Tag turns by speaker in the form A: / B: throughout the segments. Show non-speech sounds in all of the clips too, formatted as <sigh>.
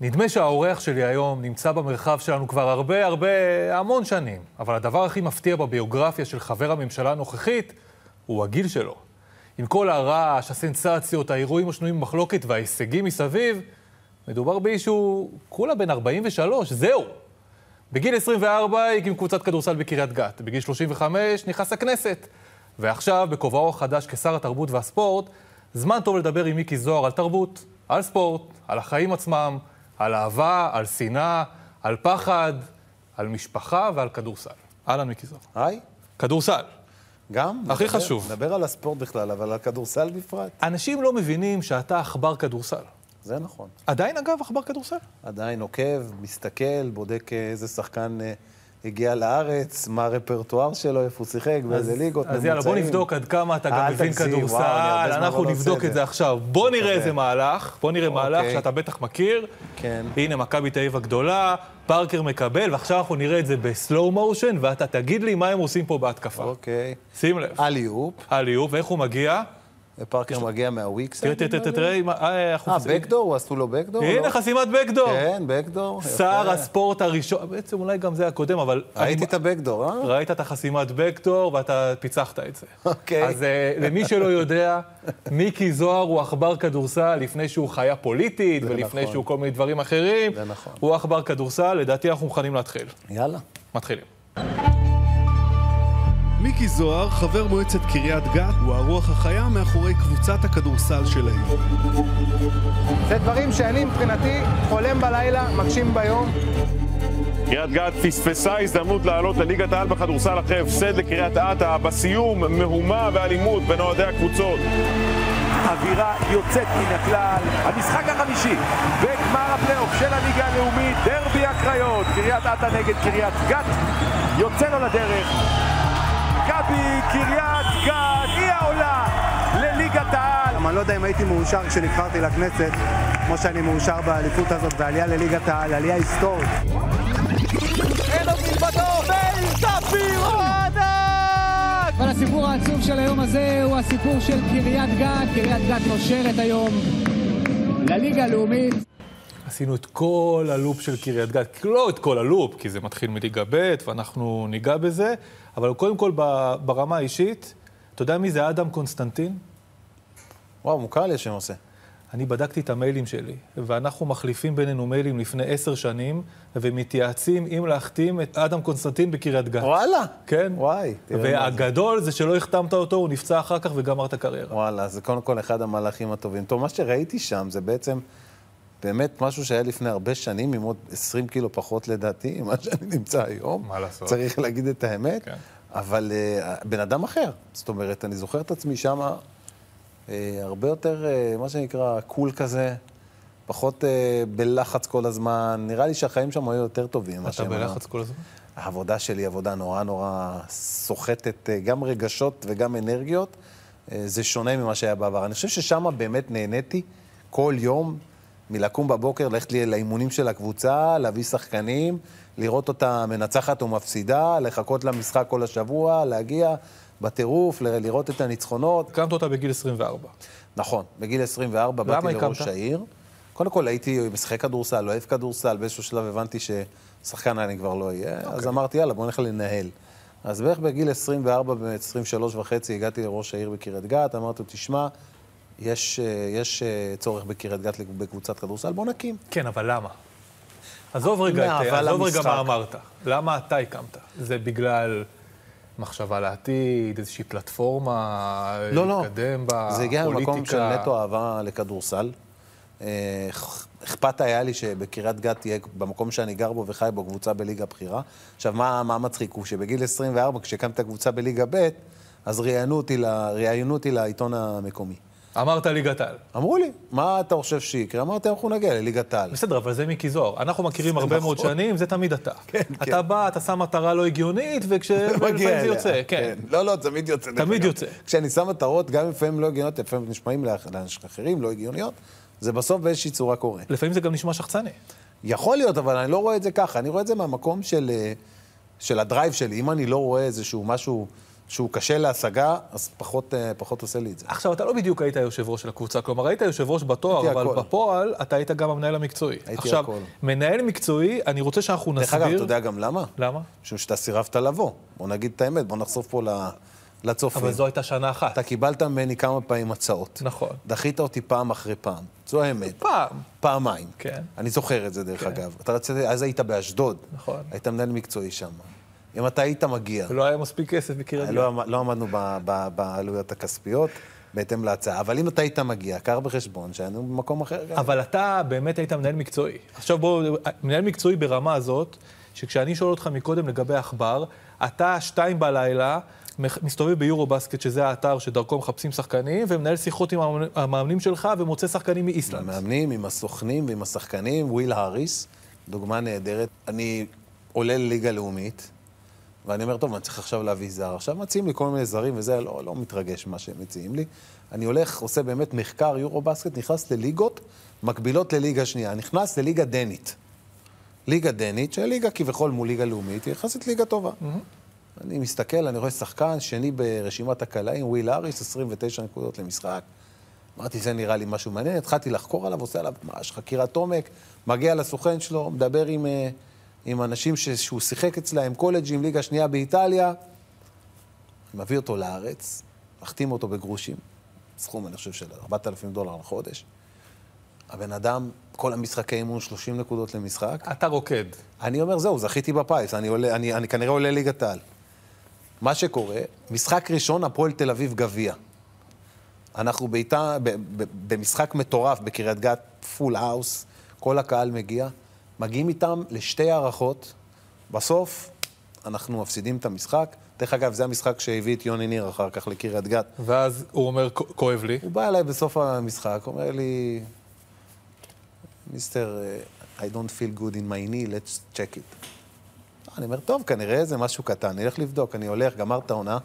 A: נדמה שהאורח שלי היום נמצא במרחב שלנו כבר הרבה הרבה, המון שנים, אבל הדבר הכי מפתיע בביוגרפיה של חבר הממשלה הנוכחית הוא הגיל שלו. עם כל הרעש, הסנסציות, האירועים השנויים במחלוקת וההישגים מסביב, מדובר באיש שהוא כולה בן 43, זהו. בגיל 24 הקים קבוצת כדורסל בקריית גת, בגיל 35 נכנס לכנסת, ועכשיו, בכובעו החדש כשר התרבות והספורט, זמן טוב לדבר עם מיקי זוהר על תרבות, על ספורט, על החיים עצמם, על אהבה, על שנאה, על פחד, על משפחה ועל כדורסל. אהלן, מיקי זוהר.
B: היי,
A: כדורסל.
B: גם.
A: הכי
B: נדבר-
A: חשוב.
B: נדבר על הספורט בכלל, אבל על כדורסל בפרט.
A: אנשים לא מבינים שאתה עכבר כדורסל.
B: זה נכון.
A: עדיין, אגב, עכבר כדורסל?
B: עדיין עוקב, מסתכל, בודק אה, איזה שחקן אה, הגיע לארץ, מה הרפרטואר שלו, איפה הוא שיחק, באיזה ליגות,
A: אז יאללה, בוא
B: ממוצעים.
A: נבדוק עד כמה אתה גם
B: אל
A: מבין
B: תגזים,
A: כדורסל,
B: וואו, אני הרבה זמן
A: אנחנו
B: לא עושה
A: נבדוק
B: את
A: את זה
B: זה.
A: עכשיו. בוא נראה
B: מקווה.
A: איזה מהלך, בוא נראה מהלך
B: אוקיי.
A: שאתה בטח מכיר.
B: כן.
A: הנה, מכבי תל אביב הגדולה, פארקר מקבל, ועכשיו אנחנו נראה את זה בסלואו מושן, ואתה תגיד לי מה הם עושים פה בהתקפה.
B: אוקיי. אה,
A: שים לב.
B: אליופ,
A: אליו, ואיך הוא מגיע?
B: פארקר מגיע מהוויקס.
A: תראה, תראה, תראה, תראה, אם- אה, אנחנו...
B: אה, בקדור? עשו לו בקדור? לא?
A: הנה, חסימת בקדור.
B: כן, בקדור. יפה.
A: שר הספורט הראשון, בעצם אולי גם זה הקודם, אבל...
B: ראיתי
A: אני-
B: את הבקדור, אה?
A: ראית את החסימת בקטור ואתה פיצחת את זה.
B: אוקיי.
A: אז אה, למי שלא יודע, מיקי זוהר הוא עכבר כדורסל לפני שהוא חיה פוליטית ולפני
B: נכון.
A: שהוא כל מיני דברים אחרים.
B: זה נכון.
A: הוא עכבר כדורסל, לדעתי אנחנו מוכנים להתחיל.
B: יאללה.
A: מתחילים.
C: מיקי זוהר, חבר מועצת קריית גת, הוא הרוח החיה מאחורי קבוצת הכדורסל של העיר.
D: זה דברים שאני מבחינתי חולם בלילה, מגשים ביום.
E: קריית גת פספסה הזדמנות לעלות לליגת העל בכדורסל אחרי הפסד לקריית אתא, בסיום מהומה ואלימות בין אוהדי הקבוצות.
F: אווירה יוצאת מן הכלל. המשחק החמישי בגמר הפלייאוף של הליגה הלאומית, דרבי הקריות, קריית אתא נגד קריית גת, יוצא לו לדרך. מכבי קריית גת, היא העולה לליגת העל.
D: גם אני לא יודע אם הייתי מאושר כשנבחרתי לכנסת, כמו שאני מאושר באליפות הזאת, בעלייה לליגת העל, עלייה היסטורית.
G: אבל הסיפור העצוב של היום הזה הוא הסיפור של קריית גת. קריית גת נושרת היום לליגה הלאומית.
A: עשינו את כל הלופ של קריית גת, לא את כל הלופ, כי זה מתחיל מליגה ב' ואנחנו ניגע בזה, אבל קודם כל ב- ברמה האישית, אתה יודע מי זה אדם קונסטנטין?
B: וואו, מוכר לי השם עושה.
A: אני בדקתי את המיילים שלי, ואנחנו מחליפים בינינו מיילים לפני עשר שנים, ומתייעצים אם להחתים את אדם קונסטנטין בקריית גת.
B: וואלה.
A: כן.
B: וואי, תראה מה זה.
A: והגדול זה שלא החתמת אותו, הוא נפצע אחר כך וגמר את הקריירה.
B: וואלה, זה קודם כל אחד המהלכים הטובים. טוב, מה שראיתי שם זה בעצם באמת משהו שהיה לפני הרבה שנים, עם עוד 20 קילו פחות לדעתי, <laughs> ממה שאני נמצא היום.
A: מה לעשות?
B: צריך להגיד את האמת.
A: כן.
B: כן. אבל אה, בן אדם אחר. זאת אומרת, אני זוכר את עצמי שם אה, הרבה יותר, אה, מה שנקרא, קול כזה. פחות אה, בלחץ כל הזמן, נראה לי שהחיים שם היו יותר טובים. ממה
A: אתה
B: שהם היום.
A: בלחץ כל הזמן?
B: העבודה שלי היא עבודה נורא נורא סוחטת אה, גם רגשות וגם אנרגיות. אה, זה שונה ממה שהיה בעבר. אני חושב ששם באמת נהניתי כל יום מלקום בבוקר, ללכת לי לאימונים של הקבוצה, להביא שחקנים, לראות אותה מנצחת ומפסידה, לחכות למשחק כל השבוע, להגיע בטירוף, ל- לראות את הניצחונות.
A: הקמת אותה בגיל 24.
B: נכון, בגיל 24
A: למה
B: באתי לראש
A: הקמת?
B: העיר. קודם כל הייתי משחק כדורסל, לא אוהב כדורסל, באיזשהו שלב הבנתי ששחקן אני כבר לא אהיה,
A: אוקיי.
B: אז אמרתי, יאללה, בוא נלך לנהל. אז בערך בגיל 24, ב-23 וחצי, הגעתי לראש העיר בקריית גת, אמרתי לו, תשמע, יש, אה, יש אה, צורך בקריית גת בקבוצת כדורסל, בוא נקים.
A: כן, אבל למה? עזוב רגע, את,
B: מהאהבה
A: עזוב רגע
B: למשחק.
A: מה אמרת. למה אתה הקמת? זה בגלל מחשבה לעתיד, איזושהי פלטפורמה,
B: לא, לא.
A: להתקדם בה,
B: זה הגיע ממקום של
A: פוליטיקה?
B: נטו אהבה לכדורסל. אה, אכ- אכפת היה לי שבקריית גת תהיה, במקום שאני גר בו וחי בו, קבוצה בליגה בכירה. עכשיו, מה, מה מצחיק? הוא שבגיל 24, כשהקמת קבוצה בליגה ב', אז ראיינו אותי, ל- ראיינו אותי לעיתון המקומי.
A: אמרת ליגת העל.
B: אמרו לי, מה אתה חושב שיקרה? אמרתי, אנחנו נגיע לליגת העל.
A: בסדר, אבל זה מיקי זוהר. אנחנו מכירים הרבה מאוד
B: נכון.
A: שנים, זה תמיד אתה. אתה בא, אתה שם מטרה לא הגיונית, וכש...
B: כן, <laughs> מגיע
A: ולפעמים זה
B: אליה.
A: יוצא, כן.
B: לא, לא, תמיד יוצא. דרך
A: תמיד
B: אגב.
A: יוצא.
B: כשאני שם מטרות, גם לפעמים לא הגיוניות, לפעמים נשמעים לאח- לאנשים אחרים לא הגיוניות, זה בסוף באיזושהי צורה קורה.
A: לפעמים זה גם נשמע שחצני.
B: יכול להיות, אבל אני לא רואה את זה ככה. אני רואה את זה מהמקום של, אה, של הדרייב שלי. אם אני לא רואה איזשהו משהו שהוא קשה להשגה, אז פחות, אה, פחות עושה לי את זה.
A: עכשיו, אתה לא בדיוק היית יושב ראש של הקבוצה, כלומר, היית יושב ראש בתואר,
B: הייתי
A: אבל
B: הכל.
A: בפועל אתה היית גם המנהל המקצועי.
B: הייתי
A: עכשיו,
B: הכל.
A: מנהל מקצועי, אני רוצה שאנחנו נסביר...
B: דרך אגב, אתה יודע גם למה?
A: למה?
B: משום שאתה סירבת לבוא. בוא נגיד את האמת, בוא נחשוף פה ל- לצופים.
A: אבל זו הייתה שנה אחת.
B: כן. אתה קיבלת ממני כמה פעמים הצעות.
A: נכון.
B: דחית אותי פעם אחרי פעם. זו האמת.
A: פעם.
B: פעמיים.
A: כן.
B: אני זוכר את זה, דרך אגב. אתה רצית, אז היית באשדוד.
A: נכון.
B: היית מנהל מקצועי שם. אם אתה היית מגיע,
A: לא היה מספיק כסף בקריית גת.
B: לא, עמ- לא עמדנו ב- ב- בעלויות הכספיות בהתאם להצעה, אבל אם אתה היית מגיע, קר בחשבון שהיינו במקום אחר גם.
A: אבל אתה באמת היית מנהל מקצועי. עכשיו בואו, מנהל מקצועי ברמה הזאת, שכשאני שואל אותך מקודם לגבי עכבר, אתה שתיים בלילה מח- מסתובב ביורו-בסקט, שזה האתר שדרכו מחפשים שחקנים, ומנהל שיחות עם המאמנ- המאמנים שלך ומוצא שחקנים מאיסלנד.
B: המאמנים, עם הסוכנים ועם השחקנים, וויל האריס, דוגמה נהדרת. אני עולה לליגה לאומית, ואני אומר, טוב, אני צריך עכשיו להביא זר. עכשיו מציעים לי כל מיני זרים וזה, לא, לא מתרגש ממה שהם מציעים לי. אני הולך, עושה באמת מחקר, יורו-בסקט, נכנס לליגות מקבילות לליגה שנייה. נכנס לליגה דנית. ליגה דנית, שהיא ליגה כביכול מול ליגה לאומית, היא יחסית ליגה טובה. אני מסתכל, אני רואה שחקן שני ברשימת הקלעים, וויל האריס, 29 נקודות למשחק. אמרתי, זה נראה לי משהו מעניין, התחלתי לחקור עליו, עושה עליו ממש חקירת עומק, מגיע לסוכן שלו, מדבר עם, אה, עם אנשים ש, שהוא שיחק אצלהם, קולג'ים, ליגה שנייה באיטליה, מביא אותו לארץ, מחתים אותו בגרושים, סכום, אני חושב, של 4,000 דולר לחודש. הבן אדם, כל המשחקי אימון, 30 נקודות למשחק.
A: אתה רוקד.
B: אני אומר, זהו, זכיתי בפיס, אני, עולה, אני, אני כנראה עולה ליגת העל. מה שקורה, משחק ראשון, הפועל תל אביב גביע. אנחנו בעיטה, ב- ב- במשחק מטורף בקריית גת, פול האוס, כל הקהל מגיע, מגיעים איתם לשתי הערכות, בסוף אנחנו מפסידים את המשחק. דרך אגב, זה המשחק שהביא את יוני ניר אחר כך לקריית גת.
A: ואז הוא אומר, "כ- כואב לי.
B: הוא בא אליי בסוף המשחק, אומר לי, מיסטר, אה, I don't feel good in my knee, let's check it. אני אומר, טוב, כנראה זה משהו קטן, נלך לבדוק. אני הולך, גמר את העונה.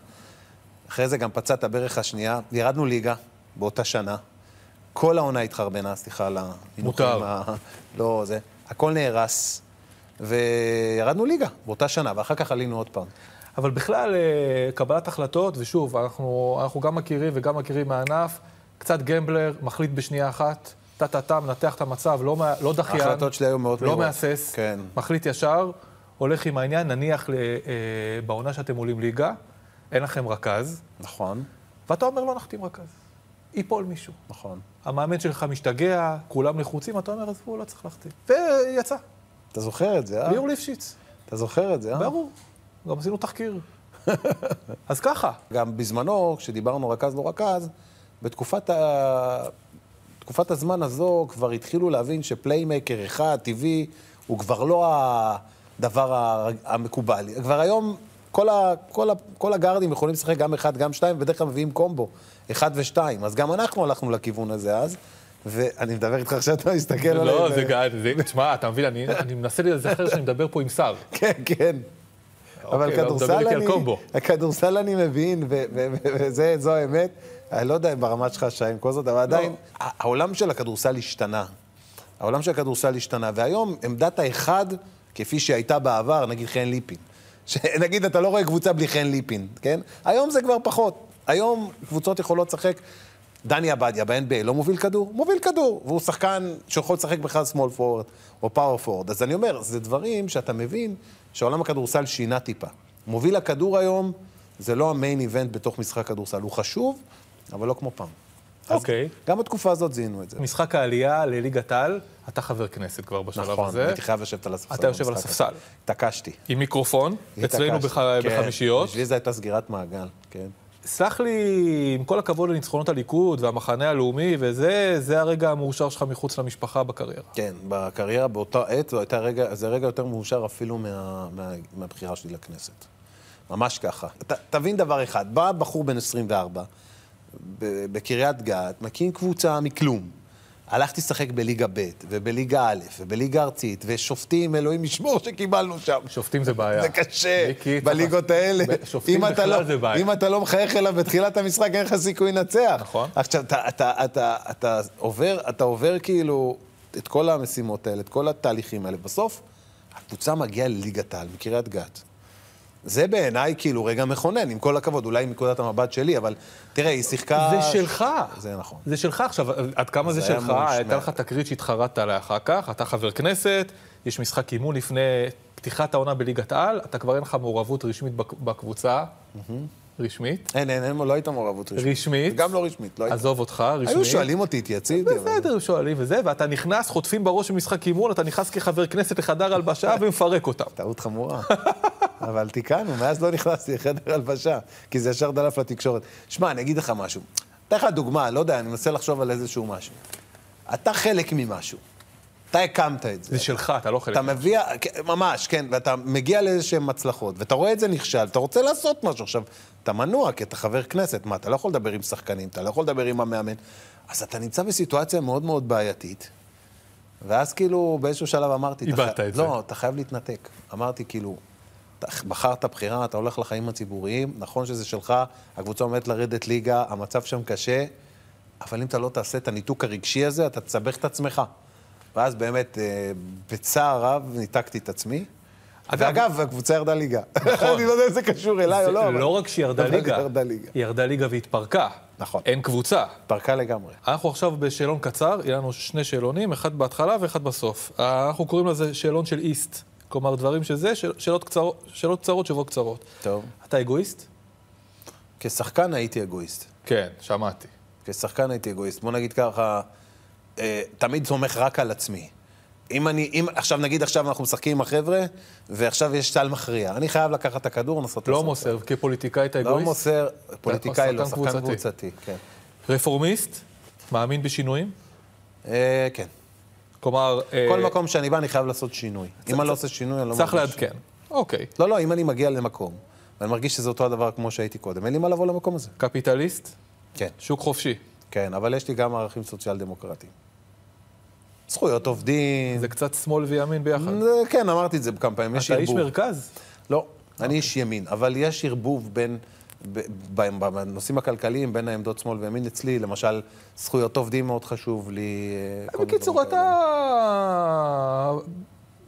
B: אחרי זה גם פצע את הברך השנייה, ירדנו ליגה באותה שנה. כל העונה התחרבנה, סליחה על המינוחים.
A: מותר.
B: ה- לא, זה... הכל נהרס, וירדנו ליגה באותה שנה, ואחר כך עלינו עוד פעם.
A: אבל בכלל, אה, קבלת החלטות, ושוב, אנחנו, אנחנו גם מכירים וגם מכירים מהענף, קצת גמבלר, מחליט בשנייה אחת, טה-טה-טה, מנתח את המצב, לא, מה- לא דחיין.
B: ההחלטות שלי היו מאוד
A: לא
B: מהירות.
A: מהסס,
B: כן.
A: מחליט ישר, הולך עם העניין, נניח ל, אה, בעונה שאתם עולים ליגה, אין לכם רכז,
B: נכון,
A: ואתה אומר, לא נחתים רכז. ייפול מישהו.
B: נכון.
A: המאמן שלך משתגע, כולם לחוצים, אתה אומר, עזבו, לא צריך להחתים. ויצא,
B: אתה זוכר את זה, אה?
A: ליאור ליפשיץ,
B: אתה זוכר את זה, אה?
A: ברור. גם עשינו <laughs> תחקיר. אז ככה.
B: גם בזמנו, כשדיברנו רכז לא רכז, בתקופת ה... תקופת הזמן הזו כבר התחילו להבין שפליימקר אחד, טבעי, הוא כבר לא הדבר ה- המקובל. כבר היום כל, ה... כל, ה... כל הגארדים יכולים לשחק גם אחד, גם שתיים, ובדרך כלל מביאים קומבו, אחד ושתיים. אז גם אנחנו הלכנו לכיוון הזה אז, ואני מדבר איתך עכשיו, אתה מסתכל עליי.
A: לא,
B: ו-
A: זה גאד, זה- תשמע, אתה מבין, אני אני מנסה לזכר שאני מדבר פה עם שר.
B: כן, כן. אבל
A: אוקיי, אבל מדבר
B: כדורסל
A: איתי על
B: אני,
A: קומבו.
B: הכדורסל אני מבין, וזו האמת. אני לא יודע אם ברמה שלך שי עם כל זאת, אבל עדיין, ה- העולם של הכדורסל השתנה. העולם של הכדורסל השתנה, והיום עמדת האחד, כפי שהייתה בעבר, נגיד חן ליפין. שנגיד, אתה לא רואה קבוצה בלי חן ליפין, כן? היום זה כבר פחות. היום קבוצות יכולות לשחק. דני עבדיה ב-NBA לא מוביל כדור? מוביל כדור, והוא שחקן שיכול לשחק בכלל small forward או power forward. אז אני אומר, זה דברים שאתה מבין שעולם הכדורסל שינה טיפה. מוביל הכדור היום זה לא המיין איבנט בתוך משחק כדורסל. הוא חשוב, אבל לא כמו פעם. אז
A: אוקיי.
B: גם בתקופה הזאת זיהינו את זה.
A: משחק העלייה לליגת על, אתה חבר כנסת כבר בשלב
B: נכון,
A: הזה.
B: הייתי חייב לשבת על הספסל.
A: אתה יושב על
B: במשחק
A: הספסל.
B: הזה. התעקשתי.
A: עם מיקרופון, אצלנו
B: התעקשתי.
A: בח-
B: כן,
A: בחמישיות.
B: בשבילי זו הייתה סגירת מעגל, כן.
A: סלח לי, עם כל הכבוד לניצחונות הליכוד והמחנה הלאומי וזה, זה הרגע המאושר שלך מחוץ למשפחה בקריירה.
B: כן, בקריירה באותה עת, זו הייתה רגע, זה רגע יותר מאושר אפילו מה, מה, מהבחירה שלי לכנסת. ממש ככה. ת, תבין דבר אחד, בא בחור בן 24, ב- בקריית גת, מקים קבוצה מכלום. הלכתי לשחק בליגה ב' ובליגה א' ובליגה ארצית, ושופטים, אלוהים ישמור שקיבלנו שם.
A: שופטים זה בעיה.
B: זה קשה,
A: מיקי, צריך-
B: בליגות האלה.
A: ב- שופטים
B: אם אתה
A: בכלל
B: לא-
A: זה בעיה.
B: אם אתה לא מחייך אליו בתחילת המשחק, אין לך סיכוי לנצח.
A: נכון.
B: עכשיו, אתה, אתה, אתה, אתה, עובר, אתה עובר כאילו את כל המשימות האלה, את כל התהליכים האלה. בסוף, הקבוצה מגיעה לליגת העל, מקריית גת. זה בעיניי כאילו רגע מכונן, עם כל הכבוד, אולי מנקודת המבט שלי, אבל תראה, היא שיחקה...
A: זה שלך.
B: אה, זה נכון.
A: זה שלך. עכשיו, עד כמה זה,
B: זה היה
A: שלך?
B: ממש
A: הייתה
B: מעט.
A: לך תקרית שהתחרדת עליה אחר כך, אתה חבר כנסת, יש משחק אימון לפני פתיחת העונה בליגת העל, אתה כבר אין לך מעורבות רשמית בק- בקבוצה. רשמית.
B: אין, אין, אין, לא הייתה מעורבות רשמית.
A: רשמית.
B: גם לא רשמית, לא הייתה.
A: עזוב אותך, רשמית.
B: היו שואלים אותי, התייצאתי, אבל...
A: בסדר, שואלים וזה, ואתה נכנס, חוטפים בראש במשחק אימון, אתה נכנס כחבר כנסת לחדר
B: <laughs>
A: הלבשה ומפרק אותם.
B: טעות חמורה. <laughs> אבל תיקנו, מאז לא נכנסתי לחדר הלבשה, כי זה ישר דלף לתקשורת. שמע, אני אגיד לך משהו. אתן לך דוגמה, לא יודע, אני מנסה לחשוב על איזשהו משהו. אתה חלק ממשהו. אתה הקמת את זה.
A: זה שלך, אתה לא חלק.
B: אתה מביא, כן, ממש, כן, ואתה מגיע לאיזשהם הצלחות, ואתה רואה את זה נכשל, אתה רוצה לעשות משהו. עכשיו, אתה מנוע, כי אתה חבר כנסת, מה, אתה לא יכול לדבר עם שחקנים, אתה לא יכול לדבר עם המאמן, אז אתה נמצא בסיטואציה מאוד מאוד בעייתית, ואז כאילו, באיזשהו שלב אמרתי... אתה
A: איבדת
B: חי-
A: את
B: לא, אתה חייב להתנתק. אמרתי, כאילו, אתה בחרת בחירה, אתה הולך לחיים הציבוריים, נכון שזה שלך, הקבוצה עומדת לרדת ליגה, המצב שם קשה, אבל אם אתה לא תעשה את הניתוק הרגשי הזה, אתה תסבך את עצמך. ואז באמת, אה, בצער רב, ניתקתי את עצמי.
A: אגב-
B: ואגב, הקבוצה ירדה ליגה. נכון. אני לא יודע אם זה קשור אליי או
A: זה
B: לא, אבל...
A: לא רק שהיא ירדה
B: אבל
A: ליגה,
B: היא ירדה ליגה.
A: היא ירדה ליגה והתפרקה.
B: נכון.
A: אין קבוצה.
B: פרקה לגמרי.
A: אנחנו עכשיו בשאלון קצר, יהיה לנו שני שאלונים, אחד בהתחלה ואחד בסוף. אנחנו קוראים לזה שאלון של איסט. כלומר, דברים שזה, שאל- שאלות, קצר, שאלות קצרות, תשובות קצרות.
B: טוב.
A: אתה אגואיסט?
B: כשחקן הייתי אגואיסט.
A: כן, שמעתי.
B: כשחקן הייתי אגואיסט. בוא נגיד ככה, אה, תמיד סומך רק על עצמי. אם אני, אם עכשיו נגיד עכשיו אנחנו משחקים עם החבר'ה, ועכשיו יש סל מכריע. אני חייב לקחת את הכדור, לנסות
A: לא
B: לעשות
A: מוסר, כפוליטיקאי אתה
B: את זה. לא
A: אגואיסט?
B: מוסר, פוליטיקאי לא,
A: שחקן
B: שחקן
A: קבוצתי.
B: קבוצתי, כן.
A: רפורמיסט? מאמין בשינויים?
B: אה, כן.
A: כלומר, אה,
B: כל מקום שאני בא, אני חייב לעשות שינוי. אם אני לא עושה שינוי, אני לא
A: צריך
B: מרגיש.
A: לעדכן. אוקיי.
B: לא, לא, אם אני מגיע למקום, ואני מרגיש שזה אותו הדבר כמו שהייתי קודם, אין לי מה לבוא למקום הזה.
A: קפיטליסט?
B: כן.
A: שוק חופשי.
B: כן, אבל יש לי גם ערכים סוציאל-דמוקרטיים. זכויות עובדים.
A: זה קצת שמאל וימין ביחד.
B: זה- כן, אמרתי את זה כמה פעמים, יש
A: נכון. אתה איש
B: ערבוב.
A: מרכז?
B: לא, אני איש ימין, אבל יש ערבוב בין, ב- ב- בנושאים הכלכליים, בין העמדות שמאל וימין אצלי, למשל, זכויות עובדים מאוד חשוב לי. אה, כל מיני
A: בקיצור,
B: דברים כאלה.
A: אתה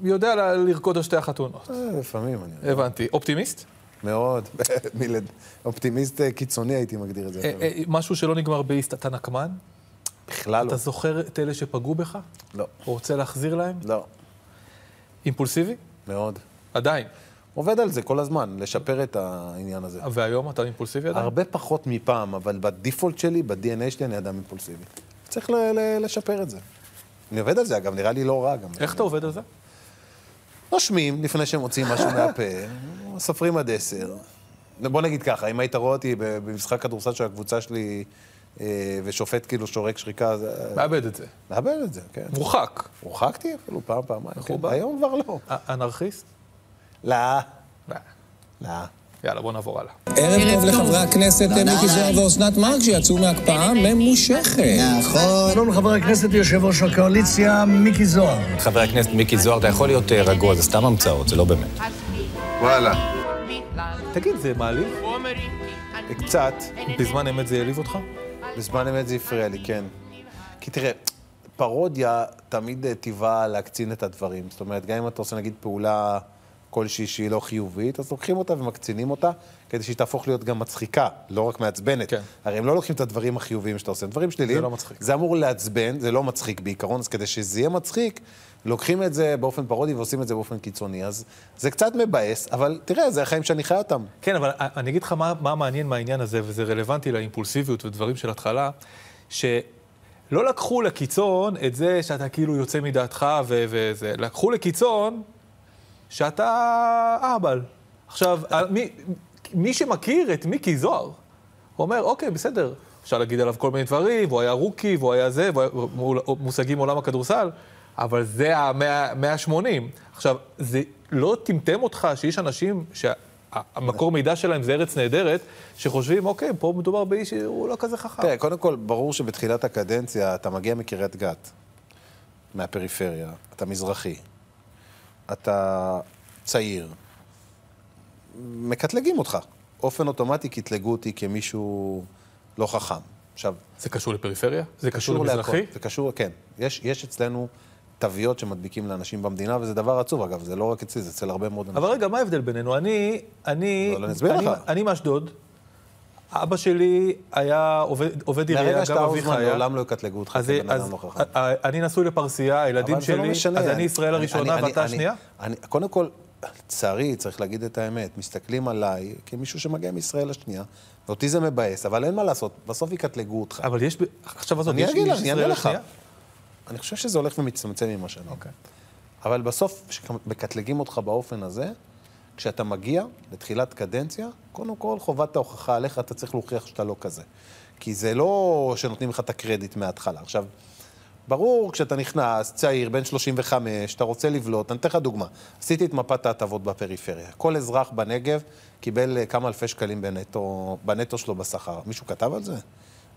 A: יודע ל- לרקוד על שתי החתונות.
B: אה, לפעמים, אני...
A: הבנתי. אופטימיסט?
B: מאוד. <laughs> מילד- אופטימיסט אה, קיצוני הייתי מגדיר את זה.
A: אה,
B: אפילו.
A: אה, משהו שלא נגמר באיסט, אתה נקמן?
B: בכלל לא.
A: אתה זוכר את אלה שפגעו בך?
B: לא.
A: רוצה להחזיר להם?
B: לא,
A: אימפולסיבי?
B: מאוד.
A: עדיין.
B: עובד על זה כל הזמן, לשפר את העניין הזה.
A: והיום אתה אימפולסיבי עדיין?
B: הרבה פחות מפעם, אבל בדיפולט שלי, ב-DNA שלי, אני אדם אימפולסיבי. צריך ל- ל- לשפר את זה. אני עובד על זה, אגב, נראה לי לא רע גם.
A: איך אתה עובד על זה?
B: נושמים לפני שהם מוציאים משהו מהפה, סופרים עד עשר. בוא נגיד ככה, אם היית רואה אותי ב- במשחק כדורסל של הקבוצה שלי, אה, ושופט כאילו שורק שריקה, זה-
A: מאבד את זה.
B: נאבד את זה, כן.
A: מורחק.
B: הורחקתי אפילו פעם, פעמיים. כן.
A: מחובר.
B: היום כבר לא.
A: א- אנרכיסט?
B: לא,
A: לא.
B: לא.
A: יאללה, בוא נעבור הלאה.
H: ערב טוב לחברי הכנסת מיקי זוהר ואוסנת מארק שיצאו מהקפאה ממושכת. נכון.
I: שלום לחבר הכנסת ויושב-ראש הקואליציה מיקי זוהר.
J: חבר הכנסת מיקי זוהר, אתה יכול להיות אה, רגוע, זה סתם המצאות, זה לא באמת.
A: תגיד, זה מעליב?
B: קצת,
A: בזמן אמת זה העליב אותך?
B: בזמן אמת זה הפריע לי, כן. כי תראה, פרודיה תמיד אה, טבעה להקצין את הדברים. זאת אומרת, גם אם אתה עושה נגיד פעולה כלשהי שהיא לא חיובית, אז לוקחים אותה ומקצינים אותה, כדי שהיא תהפוך להיות גם מצחיקה, לא רק מעצבנת.
A: כן.
B: הרי הם לא לוקחים את הדברים החיוביים שאתה עושה, הם דברים שליליים.
A: לא מצחיק.
B: זה אמור לעצבן, זה לא מצחיק בעיקרון, אז כדי שזה יהיה מצחיק, לוקחים את זה באופן פרודי ועושים את זה באופן קיצוני. אז זה קצת מבאס, אבל תראה, זה החיים שאני חי אותם.
A: כן, אבל אני אגיד לך מה, מה מעניין מהעניין הזה, וזה רלוונטי לאימפולסיביות ודברים של התחלה, שלא לקחו לקיצון את זה שאתה כאילו יוצא מדעתך ו- וזה, לקחו לקיצון שאתה אהבל. עכשיו, ה- מי, מי שמכיר את מיקי זוהר, אומר, אוקיי, בסדר, אפשר להגיד עליו כל מיני דברים, והוא היה רוקי, והוא היה זה, והוא היה מול- מושגים מעולם הכדורסל, אבל זה ה-180. עכשיו, זה לא טמטם אותך שיש אנשים שהמקור מידע שלהם זה ארץ נהדרת, שחושבים, אוקיי, פה מדובר באיש שהוא לא כזה חכם.
B: תראה, קודם כל, ברור שבתחילת הקדנציה אתה מגיע מקריית גת, מהפריפריה, אתה מזרחי, אתה צעיר, מקטלגים אותך. באופן אוטומטי קטלגו אותי כמישהו לא חכם. עכשיו,
A: זה קשור לפריפריה? זה קשור
B: קשור להכל.
A: למזרחי?
B: זה קשור, כן. יש, יש אצלנו תוויות שמדביקים לאנשים במדינה, וזה דבר עצוב, אגב, זה לא רק אצלי, זה אצל הרבה מאוד אנשים.
A: אבל רגע, מה ההבדל בינינו? אני, אני,
B: אבל לא, אני אסביר
A: אני-
B: לך.
A: אני מאשדוד, אבא שלי היה עובד- עובד עירייה,
B: מהרגע
A: גם
B: שאתה
A: אביך
B: אוזמן,
A: היה.
B: לעולם לא יקטלגו אותך
A: אה? אז- אה,
B: כבן
A: אז
B: אדם לא חכם.
A: א- א- אני נשוי לפרסייה, הילדים
B: אבל זה לא
A: שלי, אז
B: משנה,
A: אני ישראל הראשונה
B: אני-
A: ואתה
B: אני-
A: השנייה?
B: אני- קודם כל, לצערי, צריך להגיד את האמת, מסתכלים עליי כמישהו שמגיע מישראל השנייה, ואותי זה מבאס, אבל אין מה לעשות, בסוף יקטלגו אותך.
A: אבל יש, ב- עכשיו עזוב,
B: אני
A: יש
B: אגיד
A: יש
B: לך, אני אענה
A: ישראל
B: לך.
A: השנייה?
B: אני חושב שזה הולך ומצטמצם עם השנים.
A: אוקיי.
B: אבל בסוף, כשמקטלגים אותך באופן הזה, כשאתה מגיע לתחילת קדנציה, קודם כל חובת ההוכחה עליך, אתה צריך להוכיח שאתה לא כזה. כי זה לא שנותנים לך את הקרדיט מההתחלה. עכשיו, ברור, כשאתה נכנס, צעיר, בן 35, אתה רוצה לבלוט, אני אתן לך דוגמה. עשיתי את מפת ההטבות בפריפריה. כל אזרח בנגב קיבל אה, כמה אלפי שקלים בנטו, בנטו שלו בשכר. מישהו כתב על זה?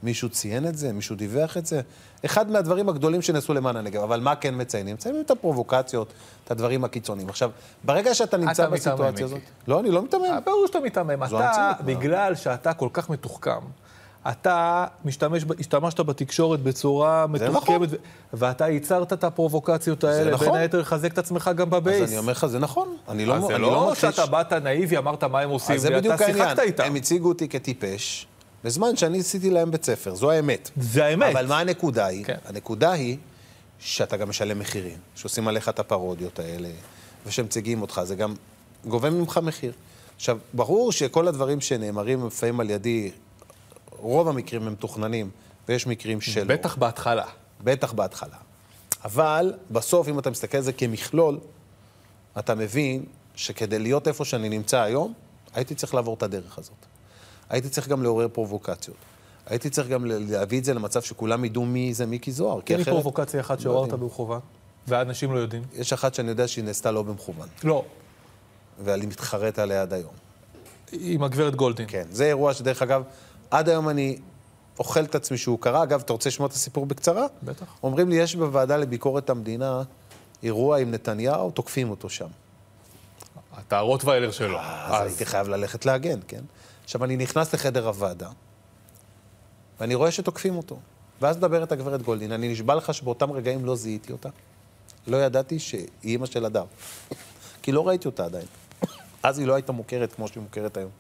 B: מישהו ציין את זה? מישהו דיווח את זה? אחד מהדברים הגדולים שנעשו למען הנגב. אבל מה כן מציינים? מציינים את הפרובוקציות, את הדברים הקיצוניים. עכשיו, ברגע שאתה נמצא
A: אתה מיתמם,
B: בסיטואציה
A: מיקי. אה,
B: הזאת... לא, אני לא מיתמם.
A: ברור שאתה מיתמם.
B: זו
A: אתה,
B: המציאות, אה. מה?
A: בגלל שאתה כל כך מתוחכם, אתה משתמש, ב- השתמשת בתקשורת בצורה מתוחכמת, ו- ואתה ייצרת את הפרובוקציות האלה, בין
B: נכון.
A: היתר לחזק את עצמך גם
B: אז
A: בבייס.
B: אני אומר לך, זה נכון. אני לא,
A: אז זה
B: אני לא
A: לא
B: מכחיש.
A: שאתה באת נאיבי, אמרת מה הם עושים,
B: אז זה
A: לי",
B: בדיוק
A: אתה
B: העניין.
A: שיחקת איתם.
B: הם הציגו אותי כטיפש, בזמן שאני עשיתי להם בית ספר, זו האמת.
A: זה האמת.
B: אבל מה הנקודה היא?
A: כן.
B: הנקודה היא שאתה גם משלם מחירים, שעושים עליך את הפרודיות האלה, ושמציגים אותך, זה גם גובה ממך מחיר. עכשיו, ברור שכל הדברים שנאמרים לפעמים על ידי, רוב המקרים הם מתוכננים, ויש מקרים שלא.
A: בטח בהתחלה.
B: בטח בהתחלה. אבל בסוף, אם אתה מסתכל על זה כמכלול, אתה מבין שכדי להיות איפה שאני נמצא היום, הייתי צריך לעבור את הדרך הזאת. הייתי צריך גם לעורר פרובוקציות. הייתי צריך גם ל- להביא את זה למצב שכולם ידעו מי זה מיקי זוהר. כי
A: תן לי
B: אחרת, לא
A: פרובוקציה אחת שעוררת במכוון, ואנשים לא יודעים.
B: יש אחת שאני יודע שהיא נעשתה לא במכוון,
A: לא,
B: ואני מתחרט עליה עד היום.
A: עם הגברת גולדין.
B: כן, זה אירוע שדרך אגב, עד היום אני אוכל את עצמי שהוא קרה. אגב, אתה רוצה לשמוע את הסיפור בקצרה?
A: בטח.
B: אומרים לי, יש בוועדה לביקורת המדינה אירוע עם נתניהו, תוקפים אותו שם.
A: אתה הרוטוויילר שלו.
B: אז הייתי חייב ללכת להגן, כן? עכשיו, אני נכנס לחדר הוועדה, ואני רואה שתוקפים אותו. ואז מדברת הגברת גולדין, אני נשבע לך שבאותם רגעים לא זיהיתי אותה. לא ידעתי שהיא אימא של אדם. <laughs> כי לא ראיתי אותה עדיין. אז היא לא הייתה מוכרת כמו שהיא מוכרת היום.